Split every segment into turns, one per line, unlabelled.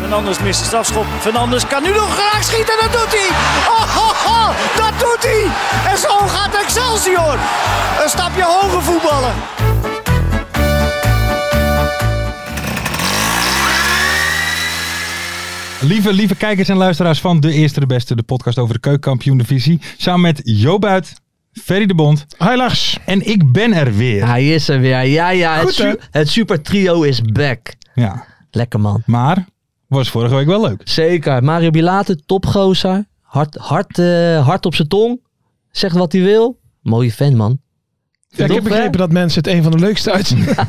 Fernandes mist de strafschop. Fernandes kan nu nog graag schieten. Dat doet hij. Oh, oh, oh, dat doet hij. En zo gaat Excelsior. Een stapje hoger voetballen.
Lieve, lieve kijkers en luisteraars van De Eerste de Beste, de podcast over de keukenkampioen divisie. Samen met Jo Buit, Ferry de Bond
Hi Lars.
en ik ben er weer.
Hij is er weer. Ja, ja. Het,
Goed, hè?
su- het super trio is back.
Ja,
Lekker man.
maar was vorige week wel leuk.
Zeker. Mario Bilate, topgozer. Hard, hard, eh, hard op zijn tong. Zegt wat hij wil. Mooie fan, man.
Ja, ik
Toch,
heb begrepen
hè?
dat mensen het een van de leukste uitzenden.
Ja,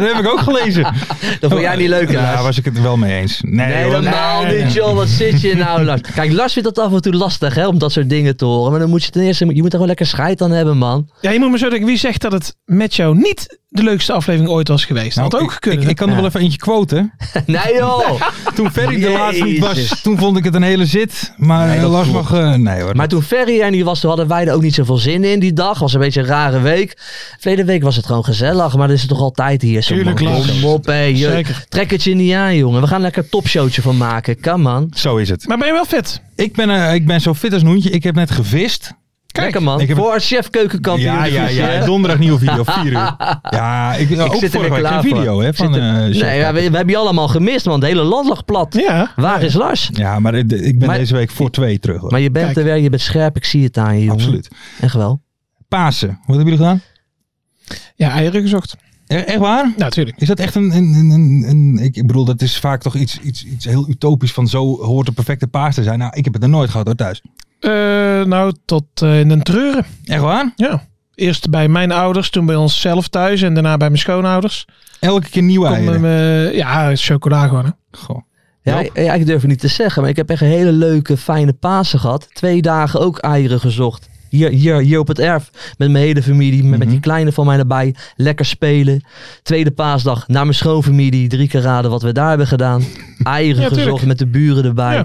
dat heb ik ook gelezen.
Dat vond jij niet leuk,
Ja,
Lars.
daar was ik het wel mee eens. Nee,
Nee,
joh,
helemaal
nee,
niet,
nee.
joh. Wat zit je nou, Lars? Kijk, Lars vindt dat af en toe lastig, hè, om dat soort dingen te horen. Maar dan moet je ten eerste, je moet er gewoon lekker scheid aan hebben, man.
Ja, je moet me zo denken, wie zegt dat het met jou niet de leukste aflevering ooit was geweest?
Nou,
dat had ook
ik,
gekund.
ik, ik kan er wel even eentje quoten.
Nee, joh.
Toen Ferry de laatste niet was,
Jezus.
toen vond ik het een hele zit. Maar
Nee,
eh,
dat
Lars
klopt.
mag... eh, nee hoor.
Maar toen Ferry en die was, toen hadden wij er ook niet zoveel zin in die dag. Was een beetje een rare week. Verleden week was het gewoon gezellig, maar dat is het toch altijd hier zo.
Tuurlijk,
man.
Lars.
Kom op, hé, je-
Zeker.
Trek het je niet aan, jongen. We gaan lekker een topshowtje van maken. Kan man.
Zo is het.
Maar ben je wel vet?
Ik ben, eh, ik ben zo fit als een hoentje. Ik heb net gevist.
Lekker man.
ik heb-
Voor chef keukenkampioen.
Ja, ja,
divisie,
ja.
hè?
Donderdag nieuwe video, 4 uur. Ja, ik, ook
zit
vorige
er weer
week
klaar
een video
voor.
hè,
Ik
van
zit er-
eh, Shopkap.
Nee, ja, we, we hebben je allemaal gemist, man. Het hele land lag plat.
Ja.
Waar is Lars?
Ja, maar ik- ik ben
Maar-
deze week voor twee terug. hoor.
Maar je bent
Kijk.
er weer, je bent scherp. Ik zie het aan je, jongen.
Absoluut.
Echt wel.
Pasen, wat hebben jullie gedaan?
Ja, eieren gezocht.
E- Echt waar?
Ja, natuurlijk.
Is dat echt een, een, een, een, een- Ik ik bedoel, dat is vaak toch iets, iets, iets heel utopisch van zo hoort de perfecte paas te zijn. Nou, ik heb het er nooit gehad hoor thuis.
nou, tot eh, in een treuren.
Echt waar?
Ja. Eerst bij mijn ouders, toen bij onszelf thuis en daarna bij mijn schoonouders.
Elke keer nieuwe
Kom,
eh,
eh,
eieren.
ja, chocola gewoon. hè.
Goh.
Ja,
Joop?
ik, ja, ik durf het niet te zeggen, maar ik heb echt een hele leuke, fijne Pasen gehad. Twee dagen ook eieren gezocht. Hier, hier, hier op het erf met mijn hele familie, met, met die kleine van mij erbij. Lekker spelen. Tweede paasdag naar mijn schoonfamilie. Drie keer raden wat we daar hebben gedaan. Eieren
Ja, tuurlijk.
gezocht met de buren erbij.
Ja.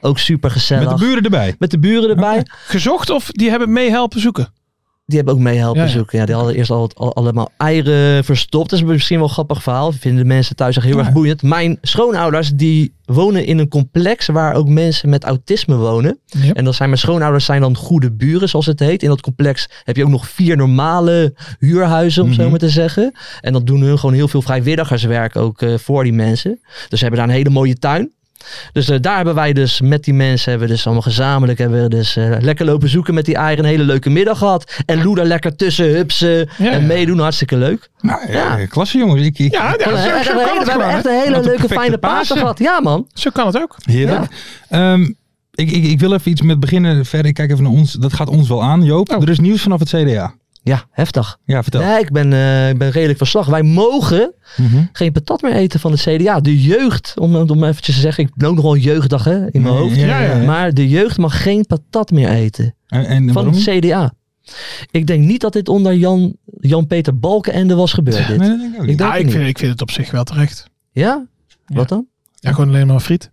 Ook super gezellig.
Met de buren erbij.
buren erbij.
Gezocht of die hebben meehelpen zoeken?
Die hebben ook mee helpen
Ja, ja.
zoeken. Ja, die hadden eerst al, al- allemaal eieren verstopt. Dat is misschien wel een grappig verhaal. Vinden de mensen thuis echt heel erg boeiend. Mijn schoonouders die wonen in een complex waar ook mensen met autisme wonen.
Ja.
En dan zijn mijn schoonouders zijn dan goede buren, zoals het heet. In dat complex heb je ook nog vier normale huurhuizen, om zo maar te zeggen. En dat doen hun gewoon heel veel vrijwilligerswerk ook eh, voor die mensen. Dus ze hebben daar een hele mooie tuin. Dus eh, daar hebben wij dus met die mensen, hebben we dus allemaal gezamenlijk, hebben we dus eh, lekker lopen zoeken met die eieren. Een hele leuke middag gehad. En Lou daar lekker tussen hupsen
Ja,
en
ja.
meedoen. Hartstikke leuk.
Nou, ja.
Ja.
klasse jongens. Ik, ik,
Ja, ja,
we hebben
zo,
echt,
zo
een
kan
hele-
het
we hebben
gewoon.
echt
hè.
een hele
Wat een
leuke
perfecte
fijne
Pasen.
Pasen gehad. Ja man.
Zo kan het ook.
Heerlijk. Ehm, ik, ik, ik wil even iets met beginnen. Verder, ik kijk even naar ons. Dat gaat ons wel aan, Joop.
Oh.
Er is nieuws vanaf het CDA.
Ja, heftig.
Ja, vertel.
Nee, ik ben, eh, ik ben redelijk van slag. Wij mogen
Mhm.
geen patat meer eten van het CDA. De jeugd, om, om eventjes te zeggen, ik ben ook nog wel een jeugddag hè, in mijn
Nee,
hoofd.
ja, ja, ja.
Maar de jeugd mag geen patat meer eten.
En, en
van
waarom?
het CDA. Ik denk niet dat dit onder Jan- Jan-Peter Balkenende was gebeurd.
Nee,
Dit.
dat denk ik ook niet.
Ik
Ja,
denk
Ah, ik
het
vind, ik vind het op zich wel terecht.
Ja? Wat dan?
Ja, gewoon alleen maar friet.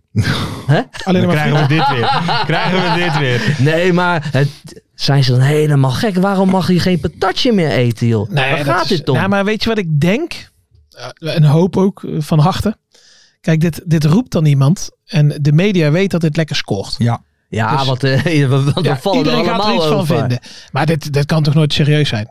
Hè?
Alleen maar friet.
we dit weer. krijgen we dit weer.
Nee, maar het- zijn ze dan helemaal gek? Waarom mag je geen patatje meer eten, joh?
Nee,
Waar
dat
gaat
is-
dit om?
Ja, maar weet je wat ik denk? Eh, En hoop ook eh, van harte. Kijk, dit, dit roept dan iemand. En de media weet dat dit lekker scoort.
Ja.
ja,
dus-
want, eh, we- we- we
Ja,
vallen er
iedereen
allemaal
gaat er iets van
over.
vinden. Maar dit, dit kan toch nooit serieus zijn?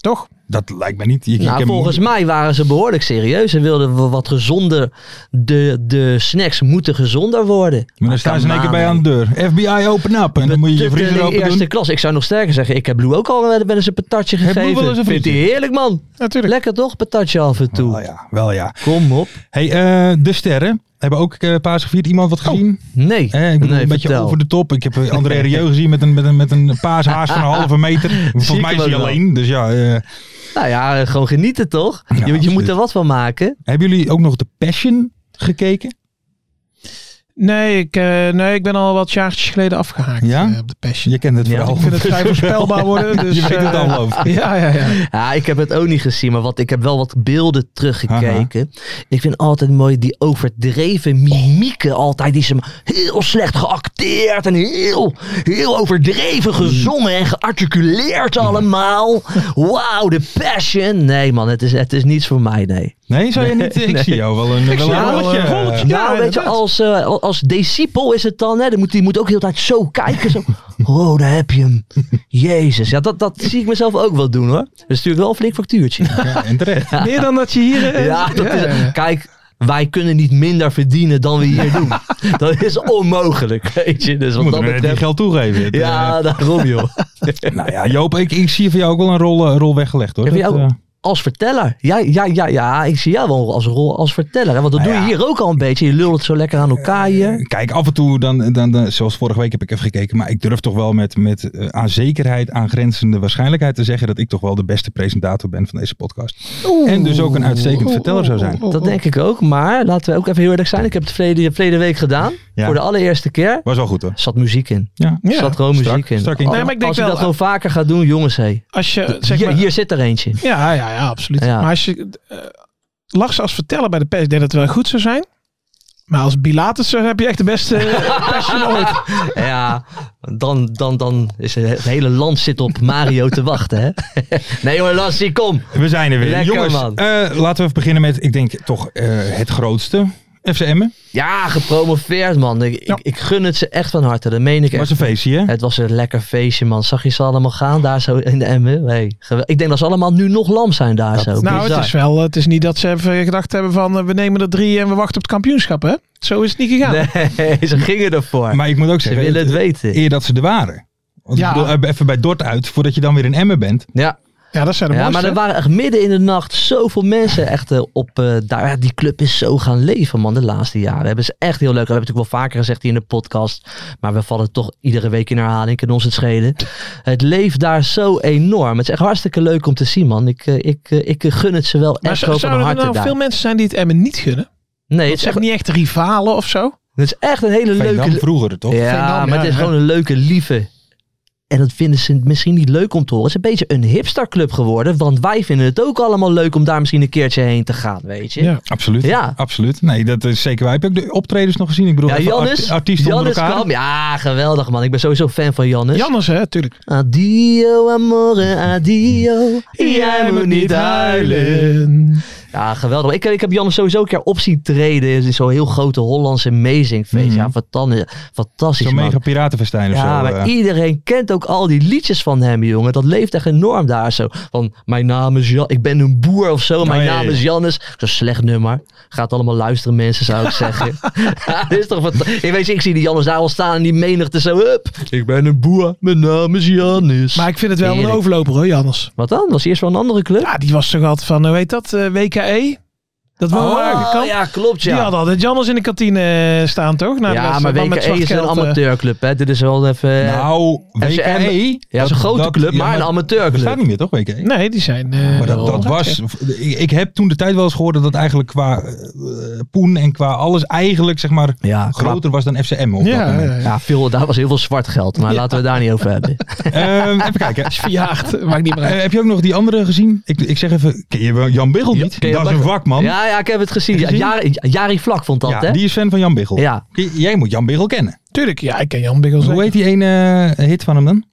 Toch?
Dat lijkt me niet. Je, je
Nou,
kan-
volgens mij waren ze behoorlijk serieus en wilden we wat gezonder. De, de snacks moeten gezonder worden.
maar dan staan ze in één keer bij
come
aan
on,
de deur. FBI, open up. En dan moet je je
Tutte in
vriezer
de
open
eerste
doen.
klas. Ik zou nog sterker zeggen, ik heb Blue ook al wel eens een patatje
Heeft Blue
gegeven.
wel eens een
Vindt hij
frietje?
heerlijk, man.
Natuurlijk.
Lekker toch, patatje af en toe.
Wel Oh, ja, wel ja.
Kom op.
Hey, eh, de sterren hebben ook eh paas gevierd. Iemand wat gezien?
Nee,
Eh, ik bedoel,
Oh. nee,
een beetje
vertel.
over de top. Ik heb eh, André Rieu gezien met een, met, een, met een paashaas van een halve meter. Volgens
Ziek
mij is
was
hij
wel.
alleen. Dus ja, eh,
Nou ja, gewoon genieten toch?
Ja,
je je
absoluut.
moet er wat van maken.
hebben jullie ook nog de Passion gekeken?
Nee ik, eh, nee, ik ben al wat jaartjes geleden afgehaakt
Ja?
eh, op de Passion.
Je kent het
Ja,
verhaal.
Ik vind het vrij voorspelbaar worden. Dus,
Je weet het
eh,
al, geloof ik.
Ja, ja, ja.
Ja, Ah, ik heb het ook niet gezien, maar wat, ik heb wel wat beelden teruggekeken. Ik vind altijd mooi die overdreven mimieken altijd. Die is hem heel slecht geacteerd en heel, heel overdreven gezongen en gearticuleerd allemaal. Wauw, de passion. Nee man, het is, het is niets voor mij, nee.
Nee, zou je niet? Ik
Nee.
zie jou wel een, wel
zie
een
jou wel,
rolletje.
eh, rolletje. Ja,
nou, weet je,
inderdaad.
als, eh, als discipel is het dan, hè, dan moet, die moet ook heel de tijd zo kijken. Zo. Oh, daar heb je hem. Jezus, ja, dat, dat zie ik mezelf ook wel doen hoor. Dat is natuurlijk wel een flink factuurtje.
Ja, en terecht.
Meer dan dat je hier... eh,
Ja, dat is,
ja, ja.
kijk, wij kunnen niet minder verdienen dan we hier doen. dat is onmogelijk, weet je. Dus wat
Moet
dat
ik
betreft...
geld toegeven. Het,
Ja, daarom joh.
eh, nou ja, Joop, ik, ik zie voor jou ook wel een rol, eh, rol weggelegd hoor.
Heb je
Dat,
ook-
eh,
Als verteller. Ja, ja, ja, ja, ik zie jou wel als rol als verteller. Hè? Want dat
Nou
doe je
ja.
hier ook al een beetje. Je lult het zo lekker aan elkaar hier.
Kijk, af en toe, dan, dan, dan, zoals vorige week heb ik even gekeken, maar ik durf toch wel met, met eh, aan zekerheid aangrenzende waarschijnlijkheid te zeggen dat ik toch wel de beste presentator ben van deze podcast. En dus ook een uitstekend verteller zou
Oh,
zijn.
Dat denk ik ook. Maar laten we ook even heel eerlijk zijn. Ik heb het verleden, verleden week gedaan.
Ja.
Voor de allereerste keer.
Was wel goed hoor.
Er zat muziek in.
Ja.
Er zat gewoon
strak,
muziek in. Oh,
strak intro.
Nee, maar ik denk
als je
wel,
dat gewoon vaker gaat doen, jongens hé.
Als je, zeg
Hier,
maar,
hier zit er eentje.
Ja, ja, ja, absoluut.
Ja.
Maar als je eh, lag ze als verteller bij de pers, ik denk dat het wel goed zou zijn. Maar als Bilatus eh, heb je echt de beste eh, passion ooit.
Ja, dan, dan, dan is het, het hele land zit op Mario te wachten, hè? Nee hoor, Lassie, kom.
We zijn er weer.
Lekker,
Jongens,
man.
eh, laten we even beginnen met, ik denk toch eh, het grootste. FCM'en.
Ja, gepromoveerd, man. Ik,
Ja.
ik, ik gun het ze echt van harte, dat meen ik
Was
echt.
een feestje hè?
Het was een lekker feestje, man. Zag je ze allemaal gaan daar zo in de Emmen? Nee, gewel- ik denk dat ze allemaal nu nog lam zijn daar zo.
Nou,
Bizar.
het is wel, het is niet dat ze even gedacht hebben van eh, we nemen er drie en we wachten op het kampioenschap, hè? Zo is het niet gegaan.
Nee, ze gingen ervoor.
Maar ik moet ook
ze
zeggen, eh,
willen het weten.
eer dat ze er waren. Want
Ja.
ik bedoel, eh, even bij Dort uit, voordat je dan weer in Emmen bent.
Ja,
Ja, dat zijn de
ja maar
mooiste.
er waren echt midden in de nacht zoveel mensen echt eh, op eh, daar. Ja, die club is zo gaan leven, man, de laatste jaren. Hebben ze echt heel leuk. Dat heb ik natuurlijk wel vaker gezegd hier in de podcast. Maar we vallen toch iedere week in herhaling. Kan ons het schelen. Het leeft daar zo enorm. Het is echt hartstikke leuk om te zien, man. Ik, eh, ik, eh, ik eh, gun het ze wel
Maar
echt
z-
gewoon van
zouden er
harte
nou
daar.
veel mensen zijn die het Emmen niet gunnen?
Nee,
Het
het is,
zijn
echt,
niet echt rivalen of zo.
het is echt een hele
Veendam
leuke...
vroeger toch?
Ja,
Veendam,
maar
ja,
het is
hè?
gewoon een leuke, lieve. En dat vinden ze misschien niet leuk om te horen. Het is een beetje een hipsterclub geworden. Want wij vinden het ook allemaal leuk om daar misschien een keertje heen te gaan, weet je.
Ja.
Absoluut.
Ja.
Absoluut. Nee, dat is zeker waar. Heb je ook de optredens nog gezien? Ik bedoel,
Ja,
even
Jannes.
arti- artiesten
Jannes
onder elkaar.
kwam. Ja, geweldig man. Ik ben sowieso fan van Jannes.
Janners, hè, natuurlijk.
Adio amore, adio. Jij moet niet huilen. Ja, geweldig. Ik, ik heb Jannes sowieso een keer op zien treden. in Zo'n heel grote Hollandse amazing feest.
Mhm.
Ja, fantan- fantastisch
Zo'n
man.
mega piratenfestijn of
ja,
zo.
maar
eh.
iedereen kent ook al die liedjes van hem, jongen. Dat leeft echt enorm daar zo. Van, mijn naam is Jan... Ik ben een boer of zo. Mijn
Oh, ja,
naam
ja.
is Jannes. Zo'n slecht nummer. Gaat allemaal luisteren, mensen, zou ik zeggen. Ja, dit is toch wat... Ik weet je, ik zie die Jannes daar al staan en die menigte zo... Hup, ik ben een boer. Mijn naam is Jannes.
Maar ik vind het wel een
Heerlijk.
overloper, hoor, Janners.
Wat dan? Was hij eerst wel een andere club?
Ja, die was toch altijd van, hoe heet dat, eh, WKE? Dat was
oh, ja, klopt, ja.
Die hadden altijd Janners in de kantine eh, staan, toch? Na de
ja,
wedstrijd,
maar
dan
WKE is een
zwart geld, eh.
amateurclub, hè. Dit is wel even...
nou, WKE.
FCM ja,
dat
is een grote
dat-
club,
ja,
maar een
Dat staat
amateurclub.
niet meer toch, WKE?
Nee, die zijn... eh,
Maar dat,
wel-
dat was, ik, ik heb toen de tijd wel eens gehoord dat dat eigenlijk qua eh, poen en qua alles eigenlijk zeg maar
Ja, qua
groter was dan FCM. Op dat
Ja,
moment.
ja, ja.
Ja, veel, daar was heel veel zwart geld, maar laten we het daar niet over hebben.
Ehm, even kijken.
Verjaagd, maakt niet meer uit.
Eh, heb je ook nog die andere gezien? Ik, ik zeg even, ken je wel Jan Biggel
Ja,
niet?
ken je
dat is
Jan
een
Biggel?
vakman.
Ja, ja, ik heb het gezien.
Heb je
Ja, Jari, Jari Vlak vond dat,
Ja,
hè?
die is fan van Jan Biggel.
Ja.
Ken je- Jij moet Jan Biggel kennen.
Tuurlijk, ja, ik ken Jan Biggels.
Hoe heet die ene eh, hit van hem dan?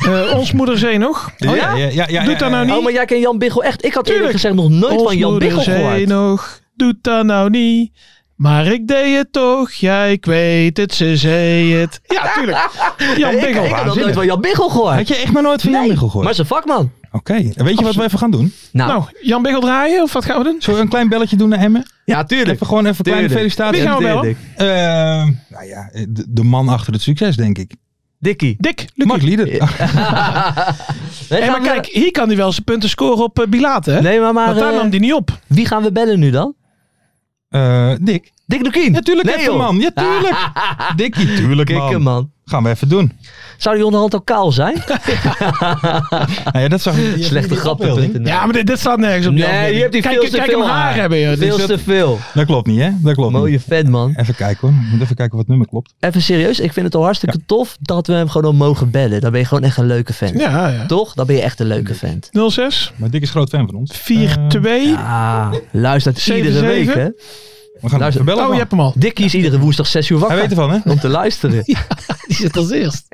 Eh, ons moederzee nog.
ja,
Oh, ja?
ja, ja, ja,
Doet dat
ja,
nou
ja.
niet?
Oh, maar jij kent Jan Biggel echt. Ik had eerlijk
Tuurlijk.
gezegd nog nooit
Ons
van Jan Biggel
moederzee
gehoord.
nog. Doet dat nou niet. Maar ik deed het toch, ja, ik weet het, ze zei het. Ja, tuurlijk. Jan
ik,
Biggel.
ik had dat
waanzinnig.
nooit van Jan Biggel gehoord.
Had je echt maar nooit van Jan
Nee,
Michel
Maar
gehoord?
zijn vakman.
Oké, en weet je wat we even gaan doen?
Nou,
Nou, Jan Biggel draaien of wat gaan we doen?
Zullen we een klein belletje doen naar Emmen?
ja, tuurlijk.
Even gewoon even een kleine
Tuurlijk.
felicitatie.
Wie gaan we bellen?
Eh, nou ja, de, de man achter het succes, denk ik.
Dikkie.
Dick,
Mark
Lucky.
Lieder. Ah,
Nee,
Hey,
gaan
maar
we-
kijk, hier kan hij wel zijn punten scoren op eh, Bilate, hè?
Nee, maar, maar
Want daar
eh,
nam hij niet op.
wie gaan we bellen nu dan?
eh, Dick.
Dick Lukien.
Natuurlijk
nee,
heeft een
joh. Ah,
man. Ja, tuurlijk. Dikkie, tuurlijk
Dikke
man.
man.
Gaan we even doen.
Zou die onderhand al kaal zijn?
Nou ja, dat zag je-
Slechte
die
grappen.
afbeelding.
Ja, maar dit, dit staat nergens op. Jan
Nee,
Biggel.
je hebt die
kijk,
veel te
kijk
veel
hem haar hebben. joh.
Veel
Dus dat-
te veel.
Dat klopt niet, hè? Dat klopt
Mooie
niet.
fan, man.
Even kijken hoor. Moet even kijken wat het nummer klopt.
Even serieus, ik vind het al hartstikke tof dat we hem gewoon al mogen bellen. Dan ben je gewoon echt een leuke fan.
Ja, ja.
Toch? Dan ben je echt een leuke fan.
06
Maar Dick is groot fan van ons.
42.
Ah, luistert iedere
7-7.
week, hè?
We gaan
Luister-
even bellen.
oh, je
man.
hebt hem al.
Dikkie is iedere woensdag 6 uur
Hij
wakker
weet ervan, hè?
om te luisteren.
Die zit als eerst.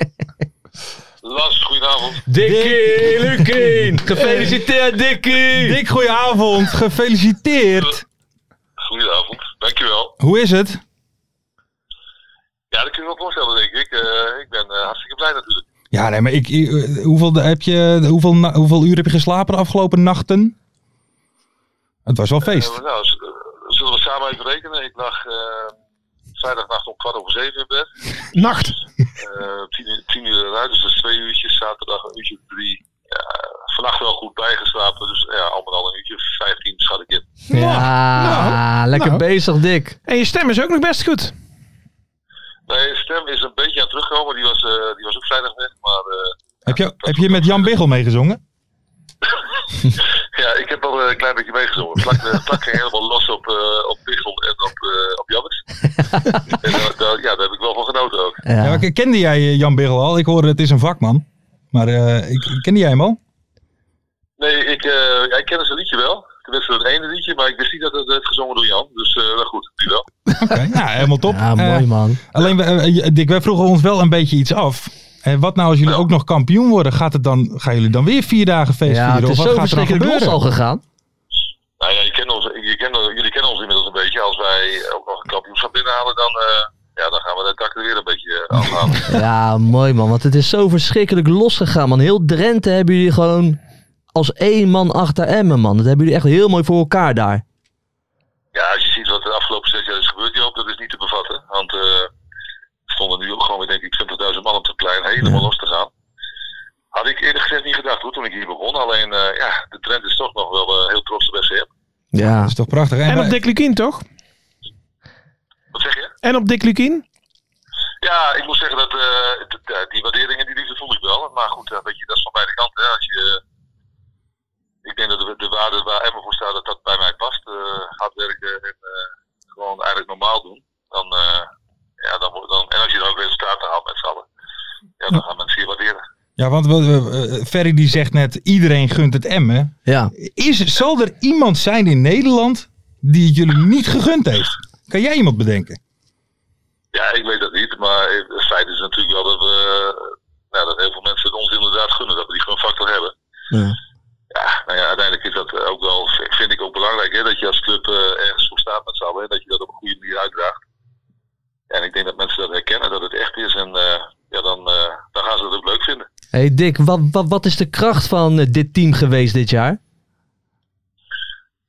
Lars, goedenavond.
Dikkie, Lukien! Gefeliciteerd, Dikkie!
Dick, goedenavond. Gefeliciteerd.
Goedenavond, dankjewel.
Hoe is het?
Ja, dat kun je wel voorstellen, denk ik. Eh, ik ben eh, hartstikke blij natuurlijk.
Ja, nee, maar ik, eh, hoeveel, heb je, hoeveel, na- hoeveel uur heb je geslapen de afgelopen nachten? Het was wel
Eh,
feest.
nou, z- eh, zullen we samen even rekenen? Ik lag eh, vrijdagnacht om kwart over zeven in bed.
Nacht.
Eh, tien, uur- tien uur eruit, dus dat is twee uurtjes. Zaterdag een uurtje of drie. Ja, vannacht wel goed bijgeslapen, dus ja, al met al een uurtje of vijftien schat ik in.
Ja,
Nou,
Ah, lekker
nou.
bezig, Dick.
En je stem is ook nog best goed.
Mijn stem is een beetje aan het terugkomen, die was, eh, die was ook vrijdag weg. Maar eh,
Heb je, heb je met Jan Biggel meegezongen?
ja, ik heb wel eh, een klein beetje meegezongen. Het plak, eh, plak ging helemaal los op, eh op Pichel en op, eh op Jannis. en daar- daar- ja, daar heb ik wel van genoten ook.
Ja. maar k- kende jij eh, Jan Biggel al? Ik hoorde het is een vakman. Maar eh, ik, kende jij hem al?
Nee, ik, eh, ja, ik ken zijn liedje wel. Tenminste, het ene liedje, maar ik wist niet dat het werd gezongen door Jan. Dus eh nou goed, die wel.
Oké, nou helemaal top.
Ja,
Eh,
mooi man.
Alleen, we- eh, eh, Dick, wij vroegen ons wel een beetje iets af. En wat nou als jullie ook nog kampioen worden? Gaat het dan, gaan jullie dan weer vier dagen feest
Ja, het
vieren? Of
is
wat
zo
gaat er dan
verschrikkelijk los
gebeuren?
al gegaan.
Nou ja, je kent ons, je kent, jullie kennen ons inmiddels een beetje. Als wij eh, ook nog een kampioenschap binnenhalen, dan, eh, ja, dan gaan we dat dak er weer een beetje eh, afhalen.
Ja, mooi man. Want het is zo verschrikkelijk losgegaan, man. Heel Drenthe hebben jullie gewoon als één man achter Emmen, man. Dat hebben jullie echt heel mooi voor elkaar daar.
Ja, als je ziet wat de afgelopen zes jaar is gebeurd, Joop, dat is niet te bevatten. Want eh, er stonden nu ook gewoon weer, denk ik, 20.000 man op het plein, helemaal los te gaan. Had ik eerlijk gezegd niet gedacht, hoor, toen ik hier begon. Alleen, eh, ja, de trend is toch nog wel eh, heel trots op SCM.
Ja.
Dat is toch prachtig. En
En
wij-
op Dick Lukien, toch?
Wat zeg je?
En op Dick Lukien.
Ja, ik moet zeggen dat eh, d- d- die waardering en die liefde voel ik wel. Maar goed, eh, weet je, dat is van beide kanten. Hè. Als je, eh, ik denk dat de, de waarde waar Emma voor staat, dat dat bij mij past. Eh hard werken en eh, gewoon eigenlijk normaal doen. Dan, eh, ja, dan, moet- dan, en als je dan ook resultaten haalt met z'n allen, ja, dan gaan mensen je waarderen.
Ja, want we- we- eh, Ferry die zegt net, iedereen gunt het Emmen.
Ja.
Is, zal er iemand zijn in Nederland die het jullie niet gegund heeft? Kan jij iemand bedenken?
Ja, ik weet dat niet, maar het feit is natuurlijk wel dat we, eh, nou, dat heel veel mensen het ons inderdaad gunnen, dat we die gunfactor hebben.
Ja.
Ja, nou ja, uiteindelijk is dat eh, ook wel, vind ik ook belangrijk, hè, dat je als club eh, ergens voor staat met z'n allen, hè, dat je dat op een goede manier uitdraagt. En ik denk dat mensen dat herkennen, dat het echt is en eh, ja, dan, eh, dan gaan ze dat ook leuk vinden.
hey Dick, wat, wat, wat is de kracht van eh, dit team geweest dit jaar?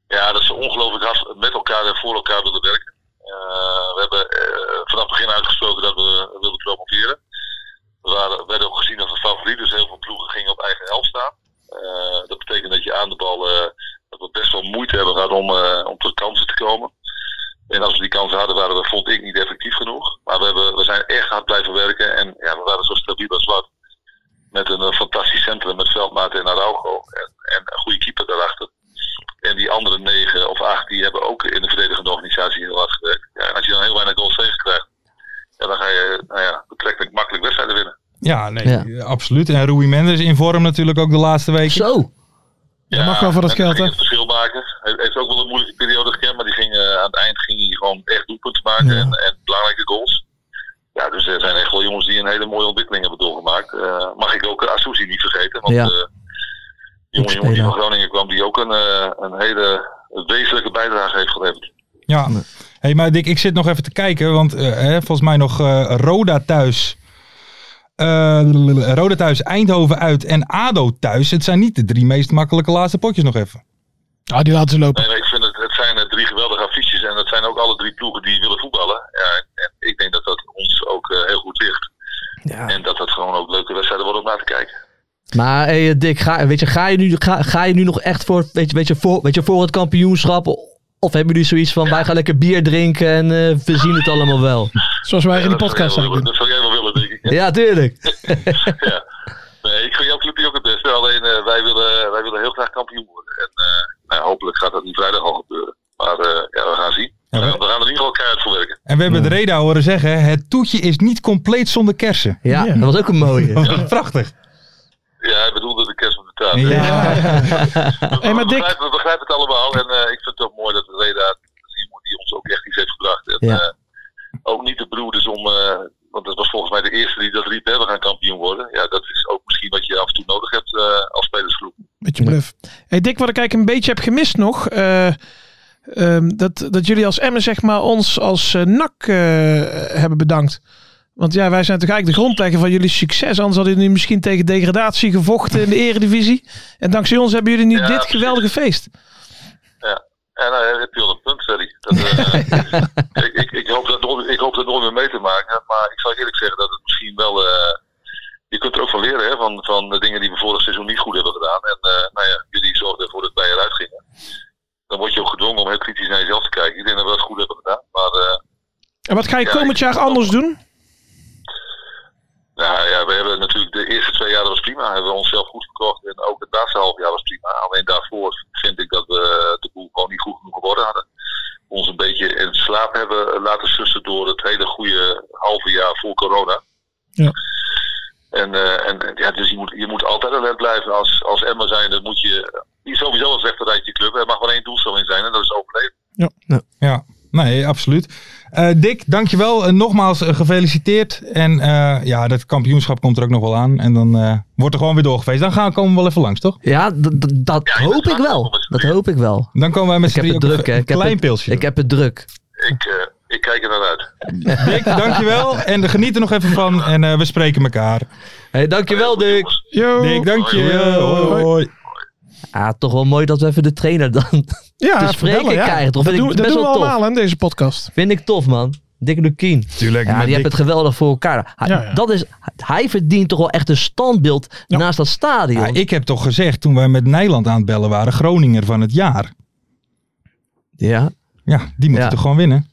Ja, dat ze ongelooflijk hard met elkaar en voor elkaar willen werken. Eh, we hebben eh, vanaf het begin uitgesproken dat we wilden promoveren. We waren, werden ook gezien als een favoriet, dus heel veel ploegen gingen op eigen helft staan. Eh, dat betekent dat je aan de bal eh, dat we best wel moeite hebben gehad om, eh, om tot kansen te komen. En als we die kansen hadden, waren we, vond ik, niet effectief genoeg. Maar we, hebben, we zijn echt hard blijven werken en ja, we waren zo stabiel als wat. Met een eh, fantastisch centrum met Veldmaat en Araujo. En, en een goede keeper daarachter. En die andere negen of acht, die hebben ook in de verdedigende organisatie heel hard gewerkt. Ja, en als je dan heel weinig goals tegen krijgt, ja, dan ga je nou ja, betrekkelijk makkelijk wedstrijden winnen.
Ja, nee,
Ja.
eh, absoluut. En Rui Mendes in vorm natuurlijk ook de laatste weken.
Zo.
Dat mag wel voor dat
en
geld,
ging
hè?
het verschil maken. Hij heeft ook wel een moeilijke periode gekend, maar die ging, eh, aan het eind ging hij gewoon echt doelpunten maken en, en belangrijke goals. Ja, dus er zijn echt wel jongens die een hele mooie ontwikkeling hebben doorgemaakt. Eh, mag ik ook Asusi niet vergeten, want
Ja.
eh, die jonge jongen die
Ex-speler.
van Groningen kwam, die ook een, eh, een hele wezenlijke bijdrage heeft geleverd.
Ja. hey, maar Dick, ik zit nog even te kijken, want eh, hè, volgens mij nog eh, Roda thuis. Eh, Roda thuis, Eindhoven uit en ADO thuis. Het zijn niet de drie meest makkelijke laatste potjes nog even.
Ah, die laten ze lopen.
Nee, maar ik vind het, het zijn eh, drie geweldige affiches. En het zijn ook alle drie ploegen die willen voetballen. Ja, en- en ik denk dat dat ons ook eh, heel goed ligt.
Ja.
En dat dat gewoon ook leuke wedstrijden worden om naar te kijken.
Maar hey, eh, Dick, ga, weet je, ga, je nu, ga, ga je nu nog echt voor, weet je, weet je, voor, weet je, voor het kampioenschap? Of hebben jullie zoiets van, wij gaan lekker bier drinken en eh, we zien het allemaal wel?
Zoals wij in de
Ja, dat zou jij
podcast
wel
zouden
willen.
doen.
Dat zou jij wel willen, denk ik.
Ja, tuurlijk.
Nee, ik vind jouw clubje ook het beste. Alleen eh, wij, willen, wij willen heel graag kampioen worden. En eh, nou, ja, hopelijk gaat dat niet vrijdag al gebeuren. Maar eh, ja, we gaan zien.
Ja, we-
Eh, we gaan er in ieder geval keihard voor werken.
En we hebben de Reda horen zeggen, het toetje is niet compleet zonder kersen.
Ja,
Ja.
dat was ook een mooie.
Prachtig.
Ja, hij bedoelde de kerst op de tafel.
Hey, maar
we,
Dick-
begrijpen, we begrijpen het allemaal. En eh, ik vind het ook mooi dat Reda iemand die ons ook echt iets heeft gebracht. En
Ja.
eh, ook niet de broed is om. eh, want dat was volgens mij de eerste die dat riep: hè, we gaan kampioen worden. Ja, dat is ook misschien wat je af en toe nodig hebt eh, als spelersgroep.
Met je bluff. Hey Dick, wat ik eigenlijk een beetje heb gemist nog. eh, ehm, dat, dat jullie als Emmen zeg maar, ons als eh, NAC eh, hebben bedankt. Want ja, wij zijn toch eigenlijk de grondlegger van jullie succes. Anders hadden jullie misschien tegen degradatie gevochten in de eredivisie. En dankzij ons hebben jullie nu dit
Ja, precies.
geweldige feest.
En nou, dan heb je al een punt, Ferry. Dat, eh, ik, ik, ik, hoop dat nooit, ik hoop dat nooit meer mee te maken. Maar ik zal eerlijk zeggen dat het misschien wel. eh, je kunt er ook van leren hè, van, van de dingen die we vorig seizoen niet goed hebben gedaan. En eh, nou ja, jullie zorgden ervoor dat wij eruit gingen. Dan word je ook gedwongen om heel kritisch naar jezelf te kijken. Ik denk dat we dat goed hebben gedaan. Maar eh,
En wat ga je
Ja,
komend
ik-
jaar anders doen?
nou ja, we hebben natuurlijk de eerste twee jaar dat was prima. Hebben we onszelf goed verkocht. En ook het laatste half jaar was prima. Alleen daarvoor vind ik dat we de boel gewoon niet goed genoeg geworden hadden. Ons een beetje in slaap hebben laten sussen door het hele goede halve jaar voor corona.
Ja.
En, eh, en en ja, dus je moet, je moet altijd alert blijven als, als Emma zijn. Dan moet je die is sowieso als rechterrijtje club. Er mag maar één doelstelling zijn en dat is overleven.
Ja, nee, absoluut. Eh Dick, dankjewel. Eh, nogmaals eh, gefeliciteerd. En eh, ja, dat kampioenschap komt er ook nog wel aan. En dan eh, wordt er gewoon weer doorgefeest. Dan gaan, komen we wel even langs, toch?
Ja, dat- dat- dat hoop ik wel. Dat hoop ik wel.
Dan komen wij met
Ik
z'n
heb
drieën
het
ook
druk, hè.
een
Ik heb
klein
het-
pilsje.
Ik heb het druk.
Ik, eh, ik kijk er naar uit.
Dick, dankjewel. En geniet er nog even van. En eh, we spreken elkaar.
Hey, dankjewel, Dick.
Yo.
Dick, dank je.
Hoi.
Hoi, hoi.
Ah, toch wel mooi dat we even de trainer dan
Ja,
te
even
spreken
bellen, ja.
krijgen. Dat
Dat,
vind
doen-
ik
dat
best
doen we
wel tof.
allemaal hè, in deze podcast.
Vind ik tof, man. Dick Lukien.
Tuurlijk.
Ja,
met
die hebben het
Dick.
geweldig voor elkaar. Hij,
Ja, ja.
Dat is, hij verdient toch wel echt een standbeeld
Ja.
naast dat stadion.
Ja, ik heb toch gezegd toen wij met Nijland aan het bellen waren, Groninger van het jaar.
Ja.
Ja, die moet
Ja.
toch gewoon winnen?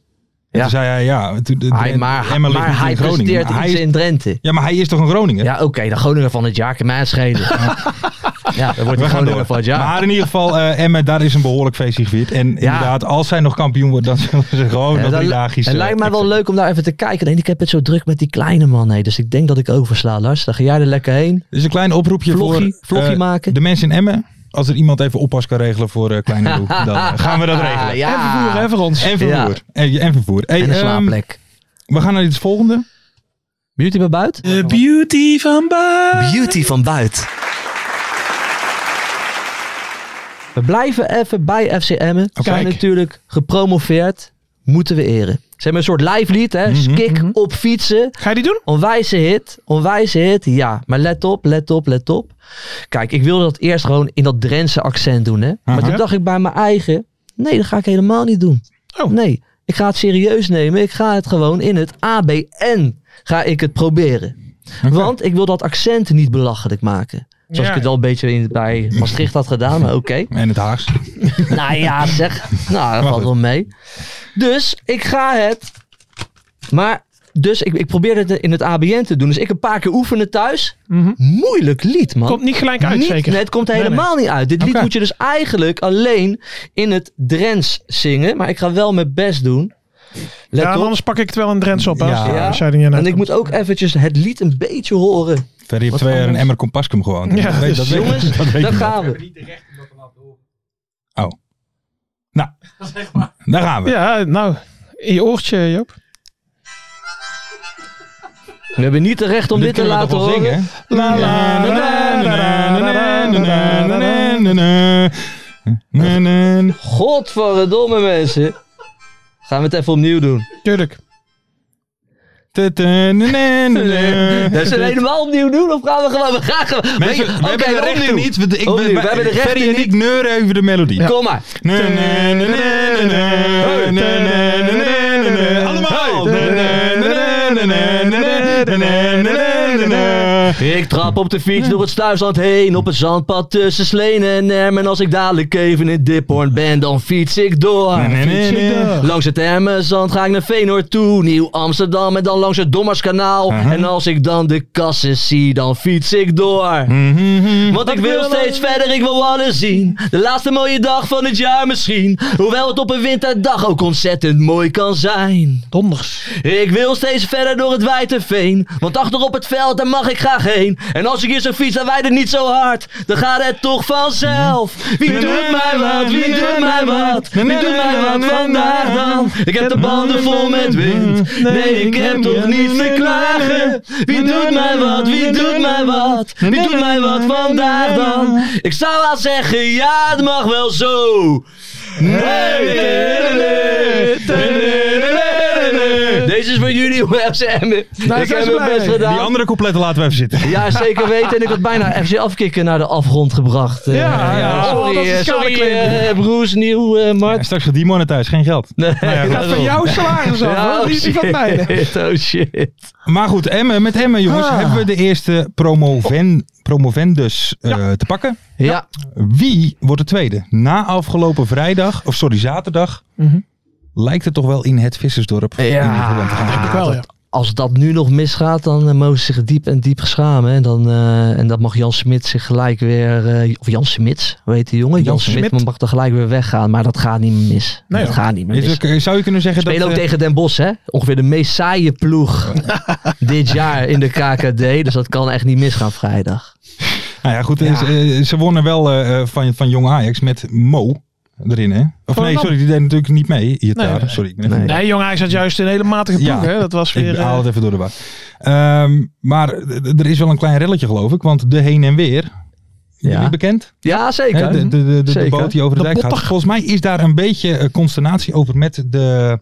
Ja.
Toen zei hij, ja, toen, de, de-
Hij, maar
Emma ligt
maar
niet in
hij
Groningen,
presteert
maar hij
iets
is-
in Drenthe.
Ja, maar hij is toch een Groninger?
Ja, oké, de Groninger van het jaar kan mij het schelen. ja, dat wordt
We
de
gaan door.
Groninger van het jaar.
Maar in ieder geval, eh Emmen, daar is een behoorlijk feestje gevierd. En inderdaad, als zij nog kampioen wordt, dan zullen ze gewoon
Ja,
nog
dat
drie
li-
dagjes...
het
eh,
lijkt mij wel
extra-
leuk om daar even te kijken. Alleen ik heb het zo druk met die kleine man. Hé. Dus ik denk dat ik oversla, Lars. Dan ga jij er lekker heen.
Dus een klein oproepje
Vloggie,
voor
vloggie
eh,
maken.
de mensen in Emmen. Als er iemand even oppas kan regelen voor eh, Kleine Broek, dan eh, gaan we dat regelen.
Ah, ja.
En vervoer hè, voor ons.
En vervoer.
Ja.
En, en vervoer. Hey,
En een
ehm,
slaapplek.
we gaan naar iets volgende.
Beauty van buiten?
De beauty van Baar.
Beauty van buiten. We blijven even bij FCM. Emmen. We zijn
Kijk.
natuurlijk gepromoveerd. Moeten we eren. Ze hebben een soort live lied, hè? Skik op fietsen.
Ga je die doen?
Onwijze hit, onwijze hit, ja. Maar let op, let op, let op. Kijk, ik wilde dat eerst gewoon in dat Drentse accent doen, hè. Maar
Aha.
toen dacht ik bij mijn eigen, nee, dat ga ik helemaal niet doen.
Oh.
Nee, ik ga het serieus nemen. Ik ga het gewoon in het ABN ga ik het proberen. Want ik wil dat accent niet belachelijk maken. Zoals
Ja.
ik het al een beetje in, bij Maastricht had gedaan, maar oké.
En het Haags.
Nou ja, zeg. Nou, dat
Maar
valt
goed.
wel mee. Dus ik ga het. Maar, dus ik, ik probeer het in het ABN te doen. Dus ik een paar keer oefenen thuis.
Mhm.
Moeilijk lied, man.
Komt niet gelijk uit,
Niet-
zeker.
nee, het komt
Nee, nee.
helemaal niet uit. Dit
Oké.
lied moet je dus eigenlijk alleen in het Drents zingen. Maar ik ga wel mijn best doen. Let
ja, en
op.
anders pak ik het wel in Drents op. hè, als-
Ja.
als jij er niet aan
En ik
uitkomt.
moet ook eventjes het lied een beetje horen.
Verder heeft
Wat
twee jaar in
anders.
Emmer Compascum gewoond.
Ja, dus
weet-
Jongens,
dat weet
daar
ik wel.
gaan we.
Nou, daar gaan we.
Ja, nou, in je oortje, Joop.
We hebben niet het recht om dit, te
kunnen we
laten
toch wel
horen.
zingen, hè?
La la la la la la la la la.
Na, na, na.
Godverdomme mensen. Gaan we het even opnieuw doen?
Tuurlijk.
Dat ze het helemaal opnieuw doen of gaan we gewoon... We gaan gewoon...
Mensen, we
Oké,
hebben de rechten
opnieuw.
niet. want Ik,
Opnieuw,
ben-
we hebben de
Ferry
rechten
en ik
niet.
neuren over de melodie.
Kom maar.
Nee, nee, nee, nee, nee, nee, nee, nee, nee, nee, nee. Allemaal. Nee, nee, nee, nee, nee, nee, nee, nee, nee, nee, nee.
Ik trap op de fiets door het sluisland heen, op het zandpad tussen Sleen en Emmen. Als ik dadelijk even in Diphoorn ben, dan fiets ik door.
Nee, nee, nee, nee.
Langs het Emmenzand ga ik naar Veenoord toe, Nieuw-Amsterdam en dan langs het Dommerskanaal.
Aha.
En als ik dan de kassen zie, dan fiets ik door.
Mhm.
Want ik wil steeds verder, ik wil alles zien. De laatste mooie dag van het jaar misschien. Hoewel het op een winterdag ook ontzettend mooi kan zijn.
Donders.
Ik wil steeds verder door het wijde veen. Want achter op het veld, daar mag ik graag heen. En als ik hier zo fiets, dan wijde niet zo hard. Dan gaat het toch vanzelf. Wie doet mij wat? Wie doet mij wat? Wie doet mij wat vandaag dan? Ik heb de banden vol met wind. Nee, ik heb toch niet te klagen. Wie doet mij wat? Wie doet mij wat? Wie doet mij wat vandaag dan? Ik zou wel zeggen, ja, het mag wel zo. Deze is voor jullie, FC Emmen.
Daar
Ik heb
zijn ze
mijn
Nou, blij
best
mee.
Die
gedaan.
andere coupletten laten we even zitten.
Ja, zeker weten. En ik had bijna FC Afkikken naar de afgrond gebracht. Eh,
Ja, ja. Oh,
Sorry,
dat is
eh,
een
sorry
schadeclaim.
eh, broers, nieuw, eh
Ja,
Mart.
Straks gaat die monetize, geen geld.
Nee,
goed.
Dat van jouw salaris af,
Ja,
hoor.
oh
Die is die van mij.
shit, oh shit.
Maar goed, Emmen, met Emmen jongens,
Ah.
hebben we de eerste promoven, promovendus eh, te pakken.
Ja,
Wie wordt de tweede? Na afgelopen vrijdag, of sorry, zaterdag,
Mhm.
lijkt het toch wel in het vissersdorp in Nederland te gaan
Denk ik
gebeuren.
wel, ja.
als dat nu nog misgaat, dan eh, mogen ze zich diep en diep geschamen. hè. En dan, eh, en dan mag Jan Smit zich gelijk weer... eh, of Jan Smits, hoe heet die jongen? Jan,
Jan
Smit,
Smit.
mag dan gelijk weer weggaan. Maar dat gaat niet meer mis.
Nee,
dat
hoor.
gaat niet meer
Is
mis.
er- zou je kunnen zeggen
Spelen
dat...
ook
eh,
tegen Den Bosch, hè? Ongeveer de meest saaie ploeg dit jaar in de KKD. Dus dat kan echt niet misgaan vrijdag.
Nou ja, goed, eh,
Ja.
ze- eh, ze wonnen wel eh, eh, van, van Jong Ajax met Mo erin, hè? Of
Van
nee,
Dam.
sorry, die deed natuurlijk niet mee. Hier,
Nee, nee, nee.
Sorry, ik ben even-
Nee.
Nee, jong, hij zat juist in een hele matige ploeg,
Ja,
hè. Dat was weer...
Ik
eh,
haal het even door de war. Ehm, maar d- d- er is wel een klein relletje, geloof ik. Want de heen en weer.
Ja.
Jullie bekend?
Ja, zeker.
Hè, De, de, de, de,
Zeker.
boot die over de,
De
dijk gaat.
botter.
Volgens mij is daar een beetje eh, consternatie over met de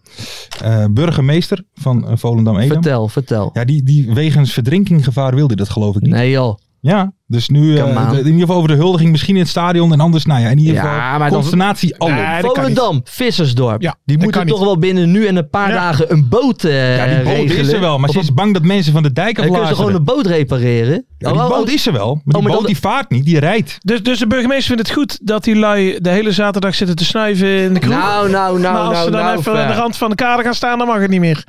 eh, burgemeester van eh, Volendam-Edam.
Vertel, vertel.
Ja, die, die wegens verdrinkinggevaar wilde dat geloof ik niet.
Nee joh.
Ja, dus nu eh,
Come on.
de- in ieder geval over de huldiging misschien in het stadion en anders. Nou ja, in ieder
Ja,
geval
maar dan-
consternatie oh, alom.
Nee, dat kan niet.
Volendam, Vissersdorp.
Ja,
die
dat
moeten
kan niet.
toch wel binnen nu en een paar
Ja.
dagen een boot eh
ja, die boot
regelen.
is er wel, maar
Of
ze
een-
is bang dat mensen van de dijk
dan kunnen ze
aflazen.
gewoon een boot repareren.
Ja, die
Oh, oh,
boot
oh.
is er wel, maar die
maar dan
boot
de-
die vaart niet, die rijdt.
Dus, dus de burgemeester vindt het goed dat die lui de hele zaterdag zitten te snuiven in de kroeg.
Nou, nou, nou,
maar als
nou,
ze dan
nou,
even
ver.
aan de rand van de kade gaan staan, dan mag het niet meer.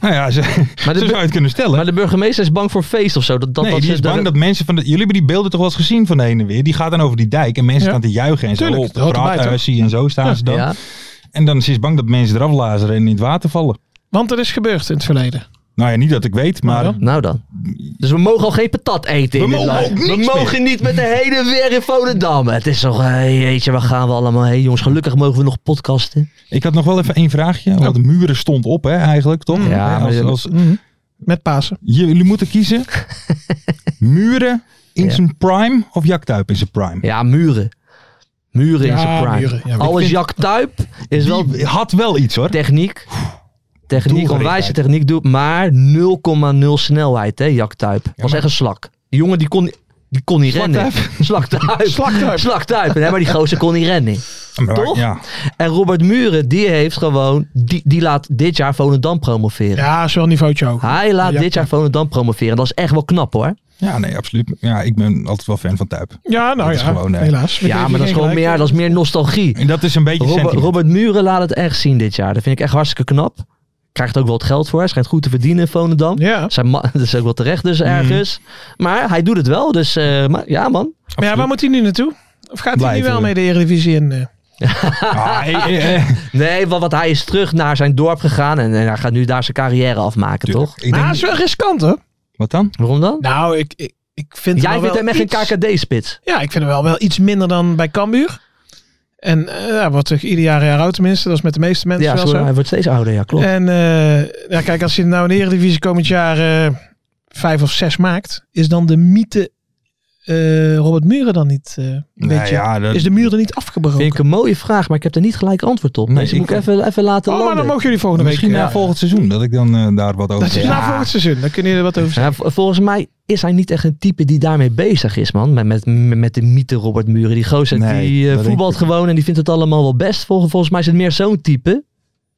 Nou ja, ze,
Maar
zo
de,
zou je het kunnen stellen.
maar de burgemeester is bang voor feest of zo. Dat, dat, dus
nee,
dat
die
ze-
is bang dat mensen van de... Jullie hebben die beelden toch wel eens gezien van de heen en weer? Die gaat dan over die dijk en mensen
Ja.
gaan te juichen en zo.
Tuurlijk,
op
dat hoort erbij,
praat,
toch?
eh, zie en zo staan ze dan.
Ja.
En dan is ze bang dat mensen eraf lazeren en in het water vallen.
Want dat is gebeurd in het verleden.
Nou ja, niet dat ik weet, maar...
Nou
Nou dan. Dus we mogen al geen patat eten
We
in dit
mogen
land.
ook niks
We mogen niet met de hele weer in Volendam. Het is toch, hey, jeetje, waar gaan we allemaal heen? Jongens, gelukkig mogen we nog podcasten.
Ik had nog wel even één vraagje. Want de muren stond op, hè, eigenlijk, toch?
Ja,
Hè,
maar
als,
je-
als,
Met Pasen.
jullie moeten kiezen. muren in
Ja.
zijn prime of Jaktuip in zijn prime?
Ja, muren. Muren in
Ja,
zijn prime.
muren. Ja, ik
Al is
vind-
Jack Tuip is wel
Die had wel iets, hoor.
techniek. Techniek,
Doelgerichtheid.
onwijze techniek, doet, maar 0,0 snelheid, hè, Jack Tuip. Was echt een slak. Die jongen die kon, die kon niet rennen. Slaktuip.
Slaktuip.
Slaktuip. Nee, maar die gozer kon niet rennen.
Maar,
Toch?
Ja.
En Robert Muren, die heeft gewoon, die, die laat dit jaar Volendam promoveren.
Ja, is wel een niveautje ook.
Hij laat
Ja,
dit jaar Volendam promoveren. Dat is echt wel knap hoor.
ja, nee, absoluut. Ja, ik ben altijd wel fan van Tuip.
Ja, nou
Dat is
ja.
gewoon, eh,
helaas. We
Ja,
geven
maar dat is
geen
gewoon
gelijk.
meer, dat is meer nostalgie.
En dat is een beetje
Robert,
sentiment.
Robert Muren laat het echt zien dit jaar. Dat vind ik echt hartstikke knap. Krijgt ook wel het geld voor. Hij schijnt goed te verdienen in Volendam.
Ja. Mhm.
Zijn ma- dat is ook wel terecht dus ergens. Maar hij doet het wel. Dus eh, maar, ja man.
Maar ja, waar moet hij nu naartoe? Of gaat hij nu
Blijven.
wel mee de Eredivisie in? eh?
Ah, eh, eh, eh.
Nee, want, want hij is terug naar zijn dorp gegaan. En, en hij gaat nu daar zijn carrière afmaken
Tuurlijk.
toch?
Ik
Nou,
denk-
dat is wel riskant hoor.
wat dan?
Waarom dan?
Nou, ik, ik, ik vind
Jij
hem wel
vindt hem echt
iets-
een KKD-spits.
Ja, ik vind hem wel, wel iets minder dan bij Cambuur. En eh, ja, wordt toch ieder jaar een jaar oud tenminste. Dat is met de meeste mensen
Ja,
wel
zo,
zo.
hij wordt steeds ouder. Ja, klopt.
En eh, ja, kijk, als je nou in de Eredivisie komend jaar eh, vijf of zes maakt, is dan de mythe eh, Robert Muren dan niet? eh, een
Nou
beetje-
ja, dat-
Is de muur er niet afgebroken?
Vind ik een mooie vraag, maar ik heb er niet gelijk antwoord op.
Nee,
dus ik moet
ik-
ik even, even laten
oh, maar dan
landen.
mogen jullie volgende
Misschien
week.
na
ja.
eh, volgend seizoen dat ik dan eh, daar wat over
Dat is
zeg.
na volgend seizoen. Dan kunnen jullie er wat
dus-
over
Ja, vol- volgens mij is hij niet echt een type die daarmee bezig is, man. Met, met, met de mythe Robert Muren. Die gozer
Nee,
die eh,
dat denk
voetbalt
ik
gewoon en die vindt het allemaal wel best. Vol- volgens mij is het meer zo'n type.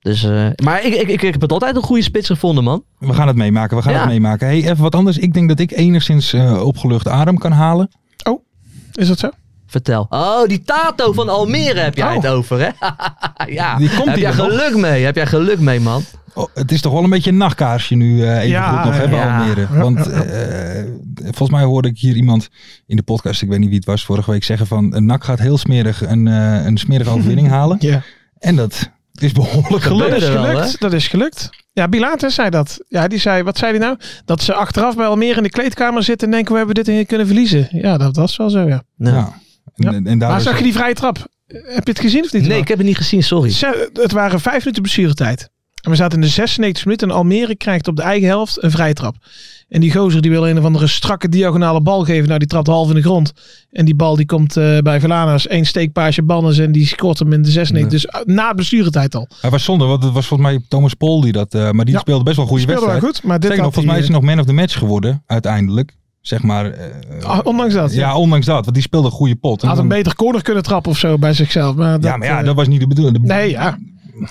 Dus, eh, maar ik, ik, ik, ik heb het altijd een goede spits gevonden, man.
We gaan het meemaken, we gaan
Ja.
het meemaken. Hey, even wat anders. Ik denk dat ik enigszins eh, opgelucht adem kan halen.
Is dat zo?
Vertel. Oh, die Tato van Almere heb jij
Oh.
het over, hè? ja.
Die komt
heb
hier
jij
nog.
geluk mee? Heb jij geluk mee, man?
Oh, het is toch wel een beetje een nachtkaarsje nu eh, even
Ja,
goed nog hebben,
ja.
Almere. Want eh, volgens mij hoorde ik hier iemand in de podcast, ik weet niet wie het was, vorige week zeggen van... een NAC gaat heel smerig een, eh, een smerige overwinning halen.
Ja.
En dat is behoorlijk
Dat
gelukt.
is
Gebeurde wel,
gelukt. dat is gelukt. Ja, Bilater zei dat. Ja, die zei, wat zei hij nou? Dat ze achteraf bij Almere in de kleedkamer zitten en denken, we hebben dit in kunnen verliezen. Ja, dat was wel zo, ja.
Nou.
Ja. En,
Ja.
en, en daar
Maar
is-
zag je die vrije trap? Heb je het gezien of niet?
Nee, ik heb het niet gezien, sorry.
Ze- Het waren vijf minuten blessuretijd. En we zaten in de 96 minuten en Almere krijgt op de eigen helft een vrije trap. En die gozer die wil een of andere strakke diagonale bal geven. Nou, die trapt half in de grond. En die bal die komt eh, bij Verlana's. één steekpaasje Banners en die scoort hem in de 96. Dus eh, na de blessuretijd al.
Hij was zonde, want het was volgens mij Thomas Pol die dat... eh, maar die
Ja.
speelde best wel een goede
Speelde wel
wedstrijd.
goed, maar dit
Zeker nog,
had
volgens mij is hij
hij, eh,
nog man of the match geworden, uiteindelijk. Zeg maar... eh,
eh, ah, Ondanks dat.
ja, ondanks dat, want die speelde een goede pot. En
Had
dan-
een beter corner kunnen trappen of zo bij zichzelf. Maar dat,
ja, maar ja,
eh,
dat was niet de bedoeling. De-
Nee, ja.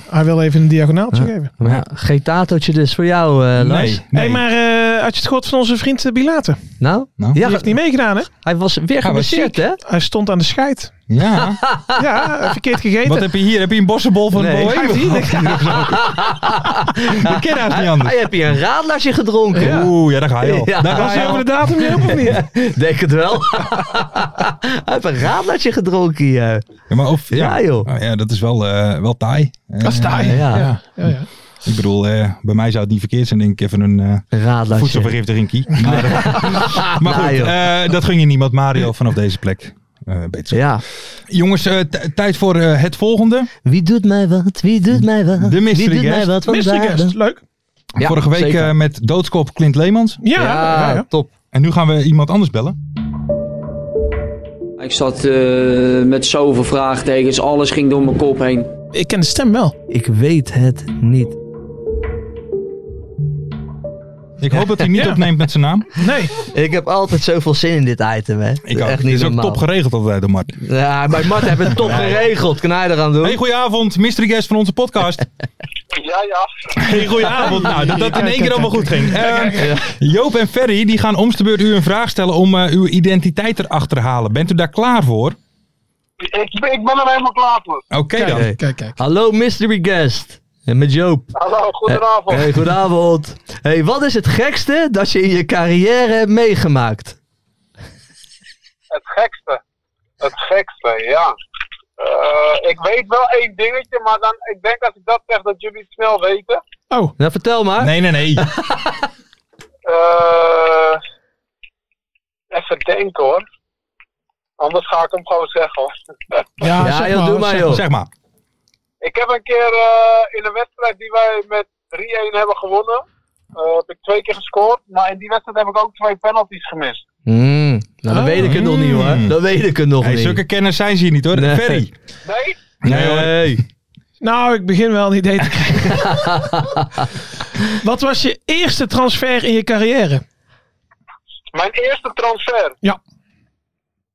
Hij wil even een diagonaaltje
Ja.
geven.
Maar ja, geen Tatootje dus voor jou, eh
Nee,
Lars.
nee.
Hé, hey, maar eh, had je het gehoord van onze vriend eh, Bilater? Die
Nou?
Nou?
Ja,
heeft niet meegedaan, hè?
hij was weer
Hij was
geblesseerd, hè?
Hij stond aan de scheid.
Ja.
Ah.
Ja, eh, verkeerd gegeten.
Wat heb je hier? Heb je een bossenbol van
Nee,
nee,
ik
Boeing? We kennen haast niet anders.
Hij heeft hier een raadlasje gedronken.
Oeh, ja, daar ga je al.
Ah, Ja.
Daar ga
Was
je
hij
al.
over de datum heen of niet?
Denk het wel. hij heeft een raadlasje gedronken hier.
Ja, maar of, ja.
Ja, joh.
Ah, ja, dat is wel, eh wel taai. Eh,
Dat is taai.
eh,
Ja.
Ja, ja, ja.
Ik bedoel, eh, bij mij zou het niet verkeerd zijn, denk ik, even een eh
Een raadlasje.
voedselvergiftigingkie. Maar, eh, maar goed,
Nou, joh.
eh, dat ging je niemand, Mario, vanaf deze plek. Eh, beter zo.
Ja.
Jongens, eh, t- tijd voor eh, het volgende.
Wie doet mij wat? Wie doet mij wat?
De mystery
Wie doet
guest.
mij wat
Mystery
vandaag?
guest, leuk.
Ja,
Vorige week
zeker.
eh, met doodskop Clint Leemans.
Ja,
ja,
ja, ja.
top.
En nu gaan we iemand anders bellen.
Ik zat eh, met zoveel vraagtekens, alles ging door mijn kop heen.
Ik ken de stem wel.
Ik weet het niet.
Ik hoop dat hij niet
Ja.
opneemt met zijn naam.
Nee,
Ik heb altijd zoveel zin in dit item, hè.
Ik ook.
Echt
Dit
niet
is ook
normaal.
top geregeld altijd door Mart.
ja, bij Mart hebben het top geregeld. Kan hij eraan doen?
Hey, goedenavond, mystery guest van onze podcast.
Ja, ja.
Hey, goedenavond. Nou, dat dat in één keer allemaal goed ging. Eh, Joop en Ferry die gaan om de beurt u een vraag stellen om eh, uw identiteit erachter te halen. Bent u daar klaar voor?
Ik, ben- ik ben er helemaal klaar voor.
Oké dan.
Hey.
kijk, kijk.
Hallo, mystery guest. En met Joop.
Hallo, goedenavond.
Hey, goedenavond. Hey, wat is het gekste dat je in je carrière hebt meegemaakt?
Het gekste. Het gekste, ja. Eh, ik weet wel één dingetje, maar dan, ik denk als ik dat zeg dat jullie het snel weten.
Oh,
Nou, vertel maar.
Nee, nee, nee.
Eh, even denken hoor. Anders ga ik hem gewoon zeggen hoor.
ja,
Ja,
zeg
joh, doe maar,
zeg-
joh.
Zeg maar.
Ik heb een keer eh, in een wedstrijd die wij met 3-1 hebben gewonnen. eh, heb ik twee keer gescoord, maar in die wedstrijd heb ik ook twee penalties gemist.
Mm, nou, dan
Oh.
weet ik het nog niet, hoor. Dan weet ik het nog
Hey,
niet.
zulke kennis zijn ze hier niet hoor.
Nee.
Ferry.
Nee?
Nee, hoor.
Nou, ik begin wel een idee te krijgen. Wat was je eerste transfer in je carrière?
Mijn eerste transfer.
Ja.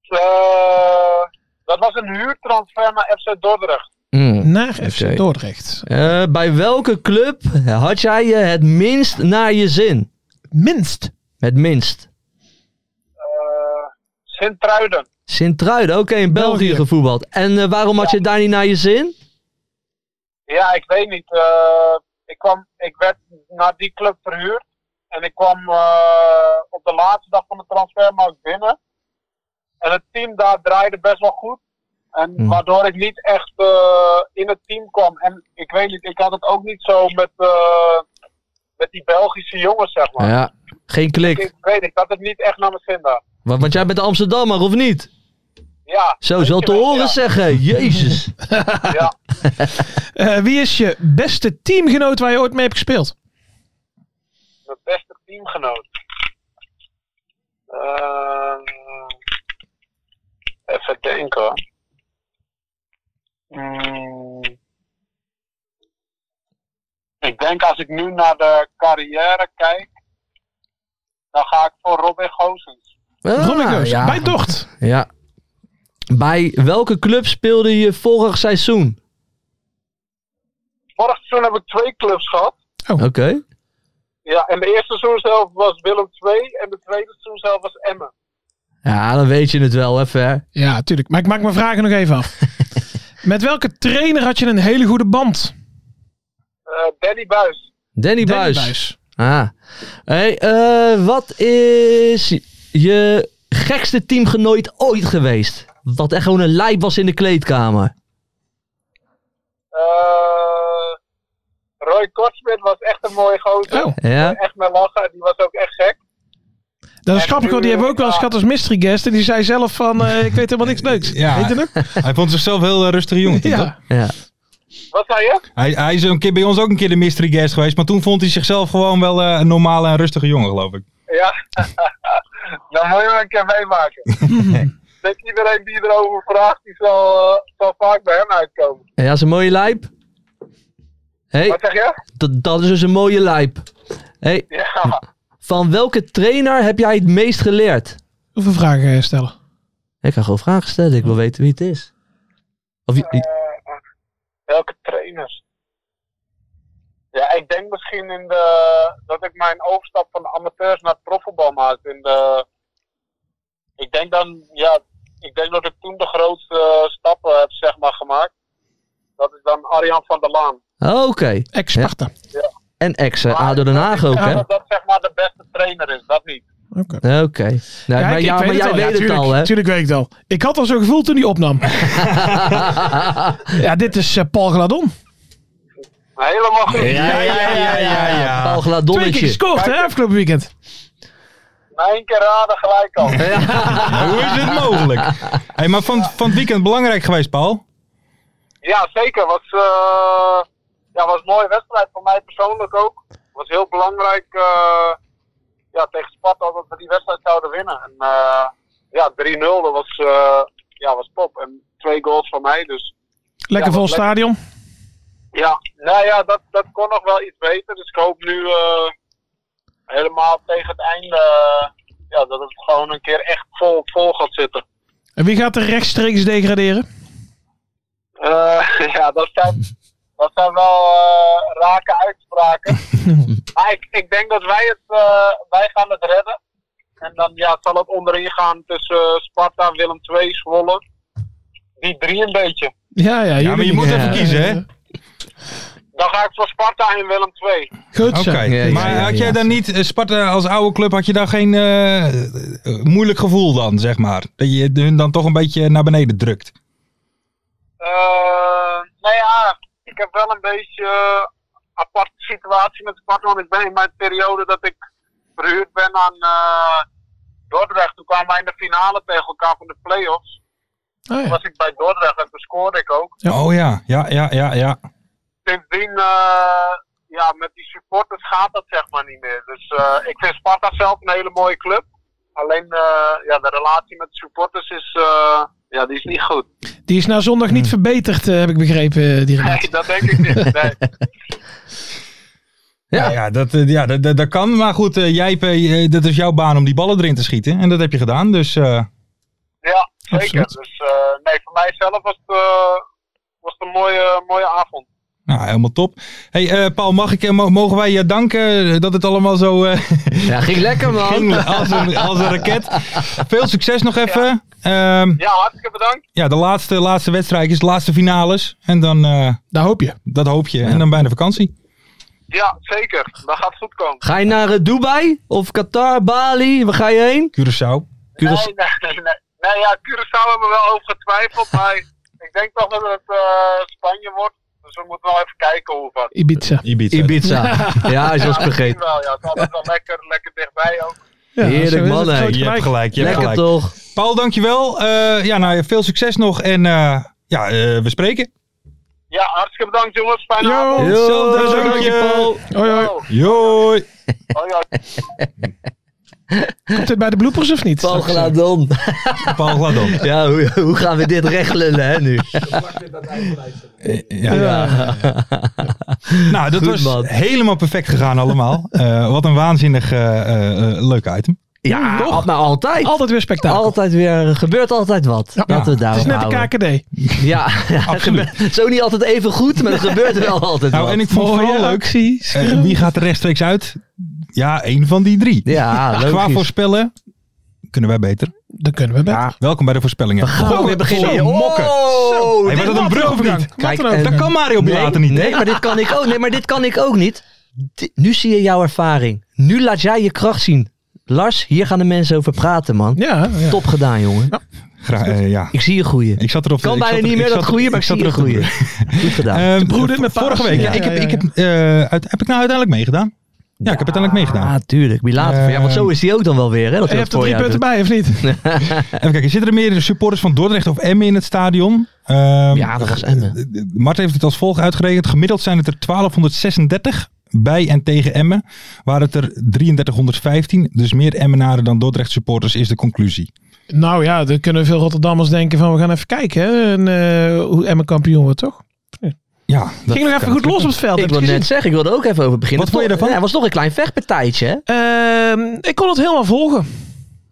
Eh, dat was een huurtransfer naar FC Dordrecht.
Mm.
Naar FC
Oké.
Dordrecht.
Eh, bij welke club had jij je het minst naar je zin?
Minst.
Het minst.
Eh, Sint-Truiden.
Sint-Truiden, oké, in België,
België.
gevoetbald. En eh, waarom had je het daar niet naar je zin?
Ja, ik weet niet. Eh, ik, kwam, ik werd naar die club verhuurd. En ik kwam eh, op de laatste dag van de transfermarkt binnen. En het team daar draaide best wel goed. En
Hmm.
waardoor ik niet echt eh, in het team kwam. En ik weet niet, ik had het ook niet zo met, eh, met die Belgische jongens, zeg maar.
Ja, geen
Ik,
klik.
ik weet niet, ik had het niet echt naar mijn zin daar.
Want, want jij bent Amsterdammer, of niet?
Ja.
Zo,
weet
is wel
je
te
wel,
horen
ja.
zeggen. Jezus.
Ja.
Eh, wie is je beste teamgenoot waar je ooit mee hebt gespeeld?
Mijn beste teamgenoot. Eh, Even denken hoor. Mm. Ik denk als ik nu naar de carrière kijk, dan ga ik voor Robin Gozens.
Ah,
Robin Geus,
ja.
bij Docht.
Ja. Bij welke club speelde je vorig seizoen?
Vorig seizoen heb ik twee clubs gehad.
Oké.
Ja, en de eerste seizoen zelf was Willem II en de tweede seizoen zelf was Emmen.
Ja, dan weet je het wel even. Hè?
Ja, tuurlijk. Maar ik maak mijn vragen nog even af. Met welke trainer had je een hele goede band?
Eh, Danny Buis.
Danny,
Danny
Buis. Ah. Hey, eh, wat is je gekste teamgenoot ooit geweest? Wat echt gewoon een lijp was in de kleedkamer.
Eh, Roy Kortsmit was echt een mooie gozer.
Oh.
Ja?
Echt met lachen, die was ook echt gek.
Dat is
En
grappig, want die
nu-
hebben we ook wel eens gehad als mystery guest. En die zei zelf van, eh, ik weet helemaal niks leuks.
Ja.
Weet je nog?
Hij vond zichzelf heel eh, rustige jongen. toch?
Ja.
Ja.
Wat zei je?
Hij, hij is een keer bij ons ook een keer de mystery guest geweest, maar toen vond hij zichzelf gewoon wel eh, een normale en rustige jongen, geloof ik.
Ja, dan moet je maar een keer meemaken. Ik denk iedereen die erover vraagt, die zal, eh, zal vaak bij hem uitkomen.
ja, dat is een mooie lijp.
Wat
Hey,
zeg je?
dat, dat is dus een mooie lijp. Hey,
Ja,
van welke trainer heb jij het meest geleerd?
Hoeveel vragen eh, stellen?
Ik ga gewoon vragen stellen. Ik wil weten wie het is. Of, je-
welke trainers? Ja, ik denk misschien in de, dat ik mijn overstap van amateurs naar profvoetbal maak. In de, ik denk dan, ja, ik denk dat ik toen de grootste eh, stappen heb zeg maar, gemaakt. Dat is dan Arjan van der Laan.
Oh, Oké.
Ex-Sparta.
En ex, eh,
Maar
ADO Den Haag ook,
Ik
hè?
denk
Oké.
dat dat zeg maar de beste trainer is, dat niet.
Nee, maar
ik-
ja,
ik
maar jij
al. Ja,
weet het
tuurlijk,
al, hè?
Tuurlijk weet ik het al. Ik had al zo'n gevoel toen hij opnam. ja, dit is eh, Paul Gladon.
Helemaal goed.
Ja, ja, ja, ja, ja. Paul
Twee keer
Gladonnetje.
gescoord, hè, afgelopen weekend.
Na één keer raden gelijk al.
Hoe is dit mogelijk? Hey, maar van, van het weekend belangrijk geweest, Paul?
Ja, zeker. Was, eh, ja, was een mooie wedstrijd voor mij persoonlijk ook. Was heel belangrijk eh, ja, tegen Sparta dat we die wedstrijd zouden winnen. En, eh, ja, 3-0, dat was, eh, ja, was top. En twee goals van mij, dus
Lekker
Ja,
vol
wat lekker.
stadion.
ja, nou ja, dat, dat kon nog wel iets beter. Dus ik hoop nu eh, helemaal tegen het einde eh, ja, dat het gewoon een keer echt vol, vol gaat zitten.
En wie gaat er rechtstreeks degraderen?
Eh, ja, dat zijn, dat zijn wel eh, rake uitspraken. maar ik, ik denk dat wij het eh, wij gaan het redden. En dan ja, zal het onderin gaan tussen eh, Sparta, Willem II, Zwolle. Die drie een beetje.
Ja, ja.
Ja, maar je moet even kiezen, hè?
Dan ga ik voor Sparta en Willem II.
Goed
Oké.
zo.
ja,
Maar
ja,
had jij
ja.
dan niet, eh, Sparta als oude club, had je daar geen eh, eh, moeilijk gevoel dan, zeg maar? Dat je hun dan toch een beetje naar beneden drukt?
Eh nou ja, ik heb wel een beetje eh, aparte situatie met Sparta. Want ik ben in mijn periode dat ik verhuurd ben aan eh, Dordrecht. Toen kwamen wij in de finale tegen elkaar van de play-offs.
Oh, ja.
Toen was ik bij Dordrecht en toen scoorde ik ook.
Ja.
Oh ja, ja, ja, ja, ja.
Sindsdien, eh, ja, met die supporters gaat dat zeg maar niet meer. Dus eh, ik vind Sparta zelf een hele mooie club. Alleen eh, ja, de relatie met de supporters is, eh, ja, die is niet goed.
Die is na zondag niet verbeterd, eh, heb ik begrepen, eh, die relatie.
Nee, dat denk ik niet. Nee.
Ja, ja, dat, eh, ja dat, dat, dat kan. Maar goed, eh, jij, eh, dat is jouw baan om die ballen erin te schieten. En dat heb je gedaan, dus... eh,
Ja, zeker.
Absoluut.
Dus eh, nee, voor mijzelf was het, eh, was het een mooie, mooie avond.
Nou, helemaal top. Hey, eh, Paul, mag ik, eh, mo- mogen wij je danken dat het allemaal zo eh,
Ja, ging lekker, man.
ging als een, als een raket. Veel succes nog even. Ehm, Ja,
Ja, hartstikke bedankt.
ja de laatste, laatste wedstrijd is de laatste finales. En dan, eh,
Daar hoop je.
dat hoop je. En dan bijna vakantie.
Ja, zeker. Dat gaat goed komen.
Ga je naar eh, Dubai of Qatar, Bali? Waar ga je heen?
Curaçao.
Curaçao.
Nee, nee, nee. nee. Nee, ja, Curaçao hebben we wel over getwijfeld. Maar ik denk toch dat het eh, Spanje wordt. Dus we moeten wel even kijken hoe het
Ibiza.
Ibiza.
Ibiza. Ja, is was
Misschien
vergeten.
wel, ja. Het is altijd wel lekker, lekker dichtbij ook.
Ja,
Heerlijk,
zo is
man,
het.
hè.
Groot
Je
Je hebt
gelijk.
gelijk, je hebt
Lekker
gelijk.
toch?
Paul, dankjewel. Eh ja, nou, veel succes nog. En eh, ja, eh, we spreken.
Ja, hartstikke bedankt jongens. Fijne
Yo.
avond.
Yo,
Hetzelfde, dank
dank
je.
je, Paul.
Hoi, hoi.
Yo.
Joi.
Hoi, hoi.
Komt dit bij de bloepers of niet?
Paul Gladon.
Paul Gladon.
eh, Ja, hoe, hoe gaan we dit regelen hè, nu?
Eh, Ja.
Ja.
Nou, dat
Goed,
was
man.
helemaal perfect gegaan allemaal. Eh, wat een waanzinnig eh, eh, eh, leuk item.
Ja, maar altijd.
Altijd weer spektakel.
Altijd weer, er gebeurt altijd wat. Laten we
Het
daar
is net de KKD.
Ja,
Absoluut.
zo niet altijd even goed, maar er gebeurt wel altijd
Nou,
wat.
en ik vond het vooral leuk.
acties.
eh, wie gaat er rechtstreeks uit? Ja, één van die drie.
Ja,
Qua
leuk.
voorspellen kunnen wij beter.
Dan kunnen we bed.
Welkom bij de voorspellingen.
Gaan we weer beginnen.
Zo, mokken.
Oh,
Hey,
dit-
was dat een brug of niet?
Kijk,
Wat dan ook.
en-
Dat kan Mario Bilater
nee,
niet.
Nee, maar dit kan ik ook, nee, maar dit kan ik ook niet. Di- nu zie je jouw ervaring. Nu laat jij je kracht zien. Lars, hier gaan de mensen over praten, man.
Ja, ja.
Top gedaan, jongen.
Gra- eh, ja.
Ik zie je goeie.
Ik zat erop.
kan
ik
bijna
zat er-
niet meer
ik zat
dat
er-
goeie, maar ik zie
zat
je
erop te
goeie.
broeden.
Goed gedaan.
Ehm,
broeden met
vorige
paas.
week. Ja,
Ja,
ik heb,
ja,
ik
ja,
heb, eh, uit, heb ik nou uiteindelijk meegedaan? Ja, ik heb uiteindelijk meegedaan.
Ah, tuurlijk. Bilater. ja, want zo is hij ook dan wel weer, hè? Dat
Je
hij
hebt
dat
er
voor
drie
jou
punten bij, of niet?
Even kijken, zitten er meer supporters van Dordrecht of Emmen in het stadion? Ehm, eh,
doet. Ja, dat was Emmen.
Mart heeft het als volgt uitgerekend. Gemiddeld zijn het er 1236 bij en tegen Emmen. Waar het er 3315. Dus meer Emmenaren dan Dordrecht supporters is de conclusie.
Nou ja, dan kunnen veel Rotterdammers denken van we gaan even kijken hè, en, eh, hoe Emmen kampioen wordt, toch?
Ja, dat
Ging nog
kan
even goed
natuurlijk.
los op het veld.
Ik
heb je
wil
gezien?
net zeggen, ik wilde ook even over beginnen.
Wat vond je
Het
ervan?
was- Ja, het was nog een klein vechtpartijtje, hè?
Ehm, ik kon het helemaal volgen.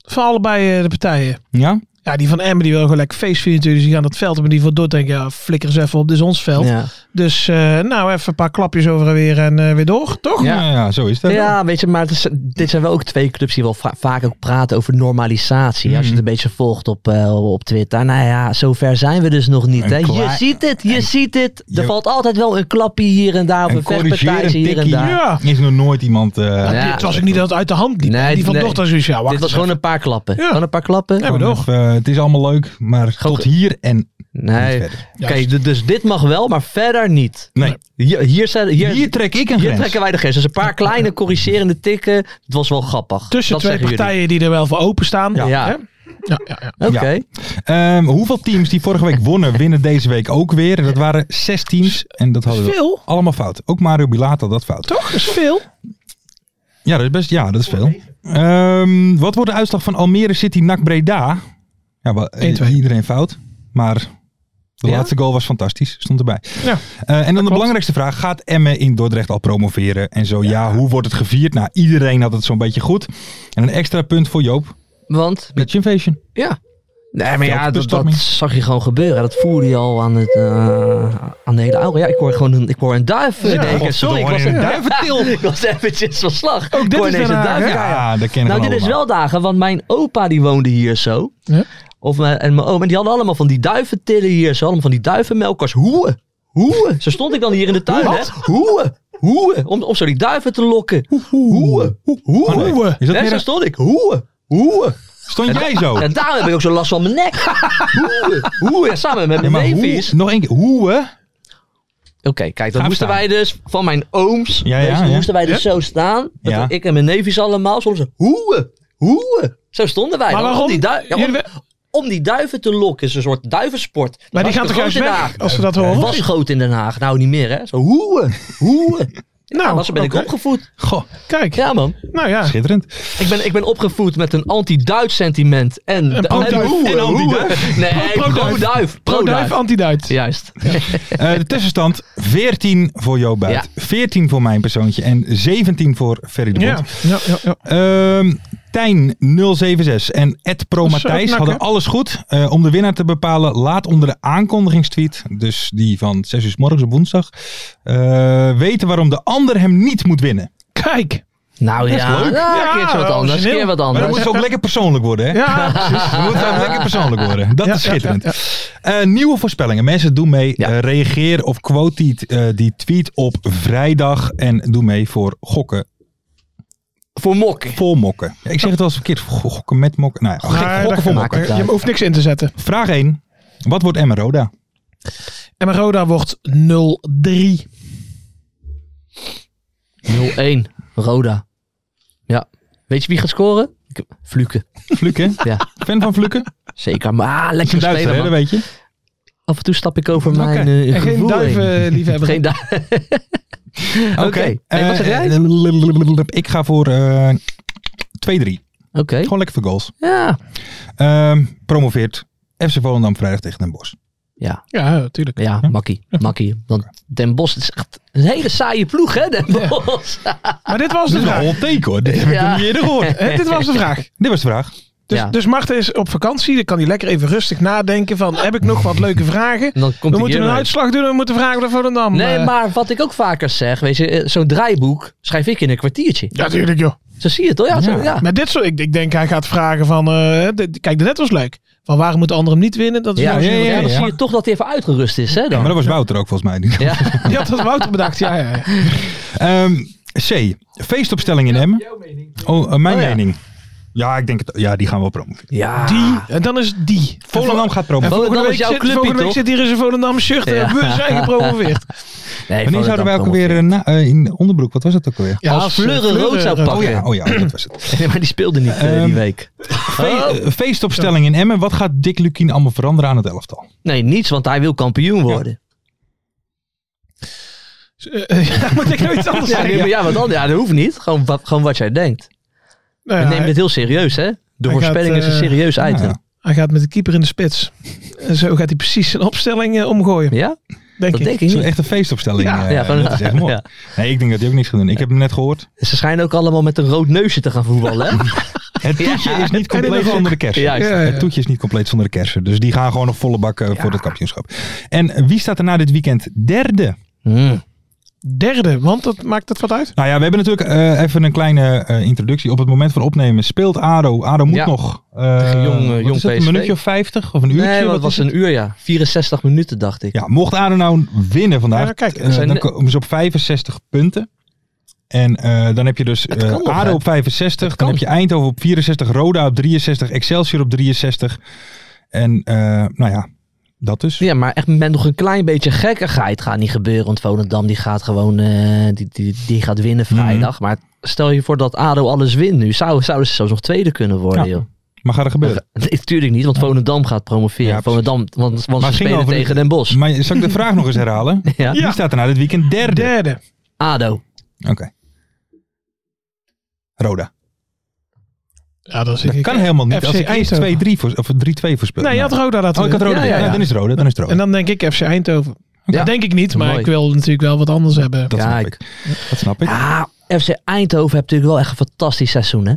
Van allebei eh, de partijen.
Ja?
Ja, die van Emmen die wil gewoon lekker feest vieren natuurlijk. Dus die gaan dat veld op en die van Dordrecht denken, ja, flikker eens even op, dit is ons veld.
Ja.
Dus eh, nou, even een paar klapjes over en weer en eh, weer door, toch?
Ja.
Ja. ja, zo is dat.
Ja, weet je, maar het is- dit zijn wel ook twee clubs die wel va- vaak ook praten over normalisatie. Als je het een beetje volgt op, eh, op Twitter. Nou ja, zover zijn we dus nog niet. Hè.
Een
Je
klaar-
ziet het, je ziet het. Er
je-
valt altijd wel een klapje hier en daar. Of een
Een
vechtpartijtje
corrigerend
hier en
tikkie
daar.
Ja.
is nog nooit iemand... eh,
Ja.
Het was ook niet dat het uit de hand liep.
Nee,
die van
nee.
Dordrecht zoiets, ja, wacht
Dit was
eens
gewoon
even.
een paar klappen.
Ja.
Gewoon een paar klappen.
Ja, maar
gewoon
toch?
even, eh, het is allemaal leuk, maar
Gewoon
tot
ge-
hier en
Nee.
niet verder.
Oké, d- dus dit mag wel, maar verder niet.
Nee,
Hier, hier, zijn, hier,
hier trek ik een
hier
grens.
trekken wij de grens. Dus een paar kleine corrigerende tikken. Het was wel grappig.
Tussen
Dat
twee
zeggen jullie.
partijen die er wel voor openstaan.
Ja.
Hè? ja, ja, ja.
Oké.
Ehm, hoeveel teams die vorige week wonnen, winnen deze week ook weer. Dat waren zes teams en dat hadden we
Veel.
allemaal fout. Ook Mario Bilater had dat fout.
Toch? Dat is veel.
Ja, dat is best. Ja, dat is veel. Ehm, wat wordt de uitslag van Almere City NAC Breda? Ja, wel, eh,
1-2.
iedereen fout. Maar de
Ja?
laatste goal was fantastisch. Stond erbij.
Ja,
Eh, en dan de belangrijkste vraag. Gaat Emmen in Dordrecht al promoveren? En zo ja, hoe wordt het gevierd? Nou, iedereen had het zo'n beetje goed. En een extra punt voor Joop.
Want
Pitch invasion.
Ja. Nee, maar ja, dat, dat
Veldbestorming.
zag je gewoon gebeuren. Dat voerde je al aan, het, eh, aan de hele oude. Ja, ik hoor gewoon een, ik hoor een duif. eh, denken. Sorry, ik was,
een
ik was eventjes van slag. Ook
dit is Den Haag, hè?
eh, Ja, dat kennen we
Nou, dit is
allemaal.
wel dagen, want mijn opa die woonde hier zo.
Ja.
Of mijn, en mijn oom. En die hadden allemaal van die duiventillen hier zo. Allemaal van die duivenmelkers. Hoeën. Hoeën. Zo stond ik dan hier in de tuin, hè. Hoeën. Hoeën. Om, om zo die duiven te lokken. Hoeën.
Oh, nee.
Hoeën.
Is dat
En
weer
zo
een-
stond ik. Hoeën. Hoeën.
Stond jij zo?
En daarom heb ik ook zo last van mijn nek. Hoe, hoe, ja, samen met
Ja,
mijn
maar hoe-
neefjes.
nog één keer. Hoe? hè?
Oké, kijk, dan
Ga
moesten
staan.
wij dus van mijn ooms,
Ja,
weet je,
ja,
dan
ja.
moesten wij dus zo staan. Dat
Ja.
Ik en mijn neefjes allemaal, soms hoe, hoe. Zo stonden wij.
Maar
dan,
waarom?
Om die, dui- ja, om-
Jullie we-
om die duiven te lokken, is een soort duivensport.
maar die
Was
gaan toch
groot
juist
in Den
weg Oh,
Haag?
als ze dat horen?
Was groot in Den Haag, nou niet meer hè. Zo hoe, hoe.
Nou,
Dan zo ben ik
oké.
opgevoed.
Goh,
Kijk,
Ja man,
nou ja.
schitterend.
ik ben, ik ben opgevoed met een anti-Duits sentiment. En, en,
pro-duif.
hoeën,
En
hoeën.
anti-duif.
Nee,
Pro- pro-duif.
pro-duif.
Pro-duif,
Pro-duif.
anti-Duits.
Juist.
Eh, de tussenstand 14 voor Jo Buit, 14 voor mijn persoontje en 17 voor Ferry de Bond.
Ja, ja, ja, ja.
Ehm, Tijn 076 en Ed Pro
Dat is zo
Matthijs
knap,
hadden
hè?
alles goed. Eh, om de winnaar te bepalen, laat onder de aankondigingstweet, dus die van 6 uur 's morgens op woensdag, eh, weten waarom de ander hem niet moet winnen.
Kijk.
Nou
is
ja,
leuk.
ja,
Ja,
een keertje wat anders, een
origineel.
keer wat
Maar dan
anders.
moet ze ook lekker persoonlijk worden, hè?
Ja,
Dan moet ze ook lekker persoonlijk worden. Dat
Ja,
is
ja,
schitterend.
ja,
Eh, nieuwe voorspellingen. Mensen, doe mee.
Ja.
Eh, reageer of quote die, eh, die tweet op vrijdag. En doe mee voor gokken
Voor mokken.
vol mokken. Ja, ik zeg het wel eens verkeerd. Go- Gokken met mokken. Nou, ja, gek,
Maar
gokken
dat-
vol
maakt
mokken.
het uit.
Je hoeft niks in te zetten.
Vraag 1. Wat wordt Emma Roda?
En mijn Roda wordt 0-3.
0-1, Roda. Ja. Weet je wie gaat scoren? Ik- Fluke.
Fluke?
Ja.
Fan van Fluke?
Zeker. Maar ah,
Is een
lekker
Duitser,
spelen,
hè? Dat weet
man.
je.
Af en toe stap ik over
Oké.
mijn eh
En geen
gevoel heen.
duiven liefhebber.
Geen duiven. Oké. Nee, wat
Eh,
zeg jij?
eh, Ik ga voor eh, 2-3.
Oké.
Gewoon lekker voor goals.
Ja.
Ehm, promoveert FC Volendam vrijdag tegen Den Bosch.
Ja,
Ja, natuurlijk.
ja, makkie. Makkie. Want Den Bosch het is echt een hele saaie ploeg, hè, Den Bosch. Ja,
Maar dit was
Dat
de
is wel
vraag.
een teken hoor. Dit heb ik
Ja.
nog niet eerder gehoord.
Hè, dit was de vraag.
Dit was de vraag.
Dus,
Ja.
dus Marten is op vakantie. Dan kan hij lekker even rustig nadenken van, heb ik nog wat leuke vragen?
En dan komt
We
hij
moeten een
hiermee.
uitslag doen. We moeten vragen naar Volendam.
Nee,
eh,
maar wat ik ook vaker zeg, weet je, eh, zo'n draaiboek schrijf ik in een kwartiertje.
Ja, tuurlijk joh.
Zo zie je het, toch? Ja, zo-
Ja.
ja.
Maar dit zo, ik, ik denk hij gaat vragen van, eh, dit- kijk, net was leuk. Van waarom moet de ander hem niet winnen? Dat is
Ja,
nou
ja,
zo-
ja, ja.
dan Dus zie je toch dat hij even uitgerust is, hè,
Maar
dan.
dat was Wouter ook volgens mij.
Ja.
Die had dat Wouter bedacht, ja, ja. ja.
Ehm, C. Feestopstelling in Emmen. Oh, eh, mijn
Oh, ja.
mening. Ja, ik denk het. Ja, die gaan we wel promoveren.
Ja.
Die, en dan is het die.
Volendam gaat
En
promoveren.
volgende
dat Ah.
week,
is jouw
zit,
clubje,
volgende week
toch?
zit hier eens een Volendam shirt en
Ja.
we zijn gepromoveerd.
Nee,
Wanneer zouden wij ook
Volendam
alweer eh, na- eh, in de onderbroek? Wat was dat ook alweer?
Ja,
Als
eh,
Fleuren rood zou
rood-
pakken.
Oh ja, oh ja, dat was het.
Nee, maar die speelde niet eh,
Ehm,
die week.
Fe-
Oh.
eh, feestopstelling in Emmen. Wat gaat Dick Lukien allemaal veranderen aan het elftal?
Nee, niets, want hij wil kampioen worden.
Eh, eh, ja, moet ik nou iets anders
Ja,
zeggen?
nee, maar ja, want dan, ja dat hoeft niet. Gewoon, wat- gewoon wat jij denkt.
Nou
We
ja,
nemen dit
hij,
heel serieus, hè? De
Hij
voorspelling
gaat,
is een
eh,
serieus item.
Nou ja.
hij gaat met de keeper in de spits. En zo gaat hij precies zijn opstelling eh, omgooien,
Ja?
denk
Dat
ik.
denk ik
Zo'n
niet.
echt een feestopstelling.
Ja,
Ja,
ja, van-
eh, dat is echt mooi.
ja.
Nee, ik denk dat hij ook niks gaat doen. Ik heb hem net gehoord.
Ze schijnen ook allemaal met een rood neusje te gaan voetballen, hè?
Het toetje is niet
En in de
compleet
rok.
zonder de kersen.
Juist.
Ja, ja.
Het toetje is niet compleet zonder de kersen. Dus die gaan gewoon nog volle bak eh, voor het kampioenschap. En wie staat er na dit weekend derde?
Hmm.
Derde, want dat maakt het wat uit.
Nou ja, we hebben natuurlijk eh, even een kleine eh, introductie. Op het moment van opnemen speelt ADO. ADO moet
Ja.
nog... eh,
Tegen jong, eh,
wat
jong
is het,
PSV.
Een minuutje of 50 of een uurtje?
Nee, want
Wat
het
is het?
was een uur, ja. 64 minuten, dacht ik.
Ja, mocht ADO nou winnen vandaag,
Ja, kijk,
eh,
zijn
dan
de-
komen ze op 65 punten. En eh, dan heb je dus eh,
kan nog,
ADO
hè?
op 65,
Het
dan
kan.
heb je Eindhoven op 64, Roda op 63, Excelsior op 63. En eh, nou ja, dat dus.
Ja, maar echt met nog een klein beetje gekkigheid gaat niet gebeuren. Want Volendam die gaat gewoon eh, die, die, die gaat winnen
Mhm.
vrijdag. Maar stel je voor dat ADO alles wint nu. Zou, zouden ze zelfs nog tweede kunnen worden,
Ja.
joh.
Maar gaat er gebeuren.
Nee, tuurlijk niet, want Volendam gaat promoveren.
Ja, precies.
Volendam, want, want
Maar ging
ze spelen
over de-
tegen Den Bosch.
Maar zal ik de vraag nog eens herhalen?
Ja.
Wie staat er na dit weekend derde?
Derde.
ADO.
Oké. Roda.
Ja, dat
Dat kan helemaal niet.
FC
Als ik eerst 2-3
Eindhoven.
voor, of 3-2 voorspel.
Nee, je had Roda dat
Oh, ik had Roda.
Ja, ja,
Ja,
ja.
dan is het Roda. Dan is het Roda.
En dan denk ik FC Eindhoven.
Ja.
Dat denk ik niet, maar
Mooi.
ik wil natuurlijk wel wat anders hebben.
dat snap
Kijk.
ik. Dat snap ik.
Ja, FC Eindhoven heeft natuurlijk wel echt een fantastisch seizoen, hè?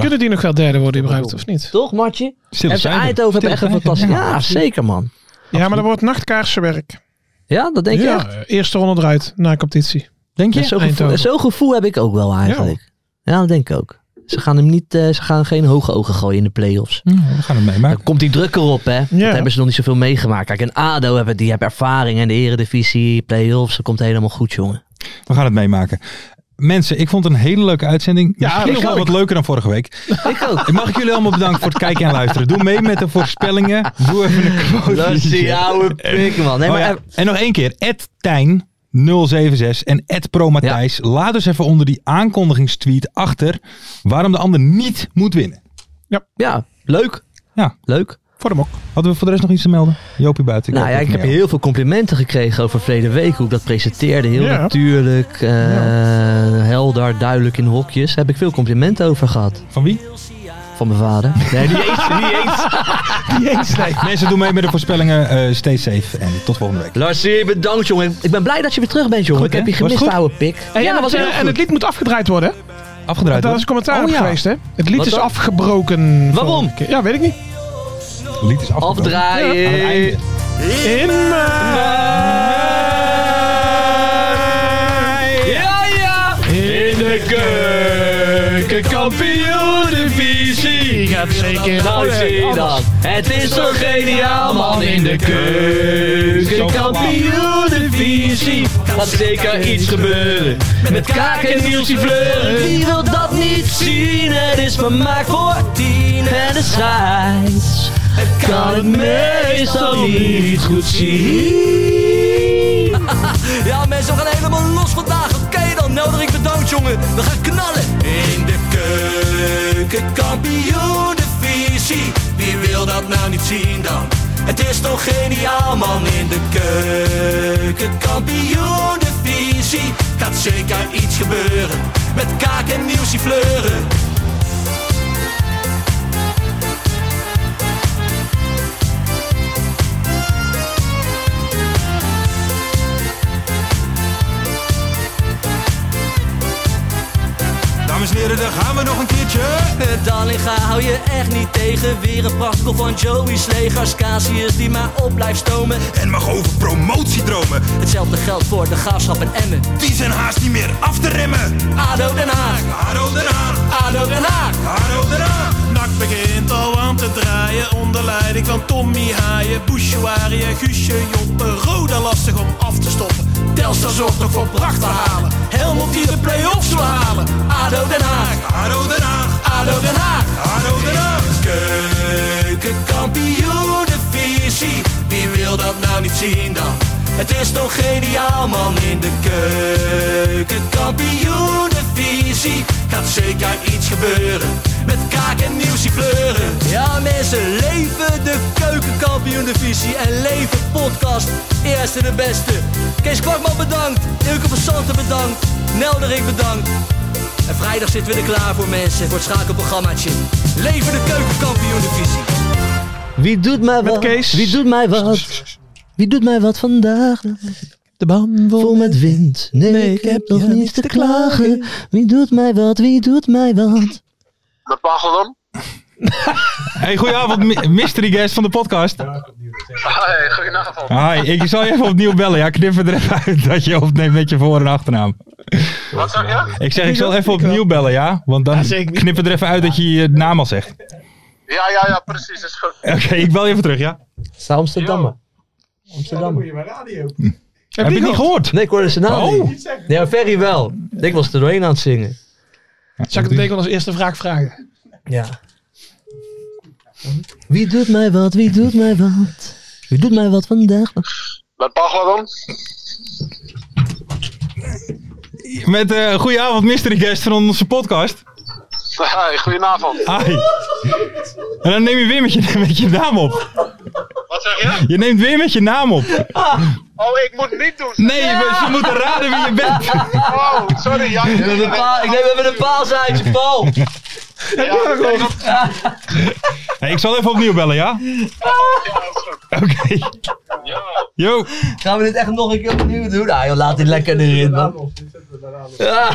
Kunnen die nog wel derde worden überhaupt, of niet?
Toch, Martje?
Stille
FC
zijde.
Eindhoven heeft
Stille
echt een
zijde.
fantastisch... Ja,
Ja.
zeker, man.
Ja, maar dat wordt nachtkaarsenwerk.
Ja, dat denk je
ja,
echt.
eerste ronde eruit na competitie.
Denk je?
Zo'n gevoel,
Eindhoven.
zo'n gevoel heb ik ook wel, eigenlijk. Ja, dat denk ik ook. Ze gaan hem niet... eh, ze gaan geen hoge ogen gooien in de play-offs.
Ja, we gaan het meemaken.
Dan komt die druk erop, hè? Dat hebben ze nog niet zoveel meegemaakt. Kijk, en ADO hebben, die hebben ervaring in de eredivisie, play-offs. Dat komt helemaal goed, jongen.
We gaan het meemaken. Mensen, ik vond het een hele leuke uitzending. Ja, Misschien
ik
nog wel
ook.
wat leuker dan vorige week.
Ik ook.
Mag ik jullie allemaal bedanken voor het kijken en luisteren. Doe mee met de voorspellingen. Doe even een
Dat is die
quoteje.
oude pik, man. Nee,
Oh
maar eh,
ja,
even-
En nog één keer. Ed Tijn 076 en Ed Pro Matthijs. Laat dus even onder die aankondigingstweet achter waarom de ander niet moet winnen.
ja, leuk.
Ja.
Leuk.
Voor de mok.
Hadden we voor de rest nog iets te melden? Jopie buiten.
nou
hoop
ja, ik
het
heb
van jou.
heel veel complimenten gekregen over verleden week. Hoe ik dat presenteerde. Heel
Ja.
natuurlijk, eh, helder, duidelijk in hokjes. Daar heb ik veel complimenten over gehad.
Van wie?
Van mijn vader. Nee, niet eens. Niet eens.
Mensen, doen mee met de voorspellingen. Eh, stay safe en tot volgende week.
Larsie, Nou, bedankt, jongen. Ik ben blij dat je weer terug bent, jongen.
Goed,
ik heb
hè?
je
Was het
gemist,
goed?
oude pik.
En, ja,
dat was
en,
heel
en
goed.
het lied moet afgedraaid worden. hè?
Afgedraaid.
Daar
hoor.
is commentaar
Oh
op
ja.
geweest, hè? Het lied
Wat
is
dan?
afgebroken.
Waarom?
vorige keer. Ja, weet ik niet.
Lied is afgedraaid. Aan het
Afdraaien.
einde.
In
Ja, ja.
In de keukenkampioenenvisie gaat zeker
Nou, zie je dan. Het is zo geniaal, man. In de keukenkampioenenvisie gaat zeker iets gebeuren. Met kaak en Nielsie Fleuren. Wie wil dat niet zien? Het is vermaakt voor tien. En de scheids kan het meestal niet goed zien. Ja, mensen, we gaan helemaal los vandaag. Oké dan, Nelderik bedankt, jongen. We gaan knallen. In de keuken, kampioen de visie. Wie wil dat nou niet zien dan? Het is toch geniaal, man. In de keuken, kampioen de visie. Gaat zeker iets gebeuren. Met kaak en nieuwsie fleuren.
heren, daar gaan we nog een keertje.
Dallinga hou je echt niet tegen. Weer een prachtkel van Joey's legers. Casius die maar op blijft stomen.
En mag over promotiedromen.
Hetzelfde geldt voor de graafschap en Emmen.
Die zijn haast niet meer af te remmen.
ADO Den Haag,
Haro Den Haag,
ADO Den Haag.
Haro Den Haag.
Nak begint al aan te draaien onder leiding van Tommy Haaien, Bouchouari en Guusje Joppen. Roda lastig om af te stoppen. Telstar zorgt nog voor pracht te halen. Helmond die de play-offs wil halen.
ADO Den Haag,
Haro Den Haag,
ADO Den Haag.
Haro Den Haag.
Keukenkampioenenvisie, wie wil dat nou niet zien dan? Het is toch geniaal man in de keukenkampioenenvisie Gaat zeker iets gebeuren, met kaak en nieuwsie kleuren Ja mensen, leven de keukenkampioenenvisie en leven podcast Eerste de beste Kees Kwakman bedankt, Ilke van Santen bedankt, Nelderik bedankt en vrijdag zitten we er klaar voor mensen, voor het schakelprogrammaatje. Leven de keukenkampioen divisie.
Wie doet mij
Met
wat?
Kees.
Wie doet mij wat? Wie doet mij wat vandaag?
De baan
Vol met wind. Nee, ik heb nog niets te klagen. Wie doet mij wat? Wie doet mij wat?
De Pachelon.
Hey, goedenavond, mi- mystery guest van de podcast.
Hey, goedenavond.
Hi, ik zal je even opnieuw bellen. Ja, knipper er even uit dat je opneemt met je voor- en achternaam.
Wat zeg je?
Ik zeg, ik zal even opnieuw bellen, ja? Want dan
zeker.
knippen er even uit dat je je naam al zegt.
Ja, ja, ja, precies. Is goed.
Oké, ik bel je even terug, ja?
Zou Amsterdammer. Amsterdammer.
Heb je het niet gehoord?
Nee, ik hoorde zijn naam
Oh.
niet. Nee, maar Ferry wel. Ik was er doorheen aan het zingen.
Zal ik het meteen als eerste vraag vragen?
Ja. Wie doet mij wat? Wie doet mij wat? Wie doet mij wat vandaag?
De Pachelon.
Met eh goedenavond, mystery guest van onze podcast.
Hey, goedenavond.
Hi. En dan neem je weer met je, met je naam op.
Wat zeg je?
Je neemt weer met je naam op.
Oh, ik moet niet doen.
Nee, we- ze moeten raden wie je bent.
Oh, sorry, Jan. Ik
Een paal- ik neem even een paal uit, Paul.
Hey, ik zal even opnieuw bellen, ja? Oké. Yo.
Gaan we dit echt nog een keer opnieuw doen? Ah joh, laat dit lekker erin man. Ja.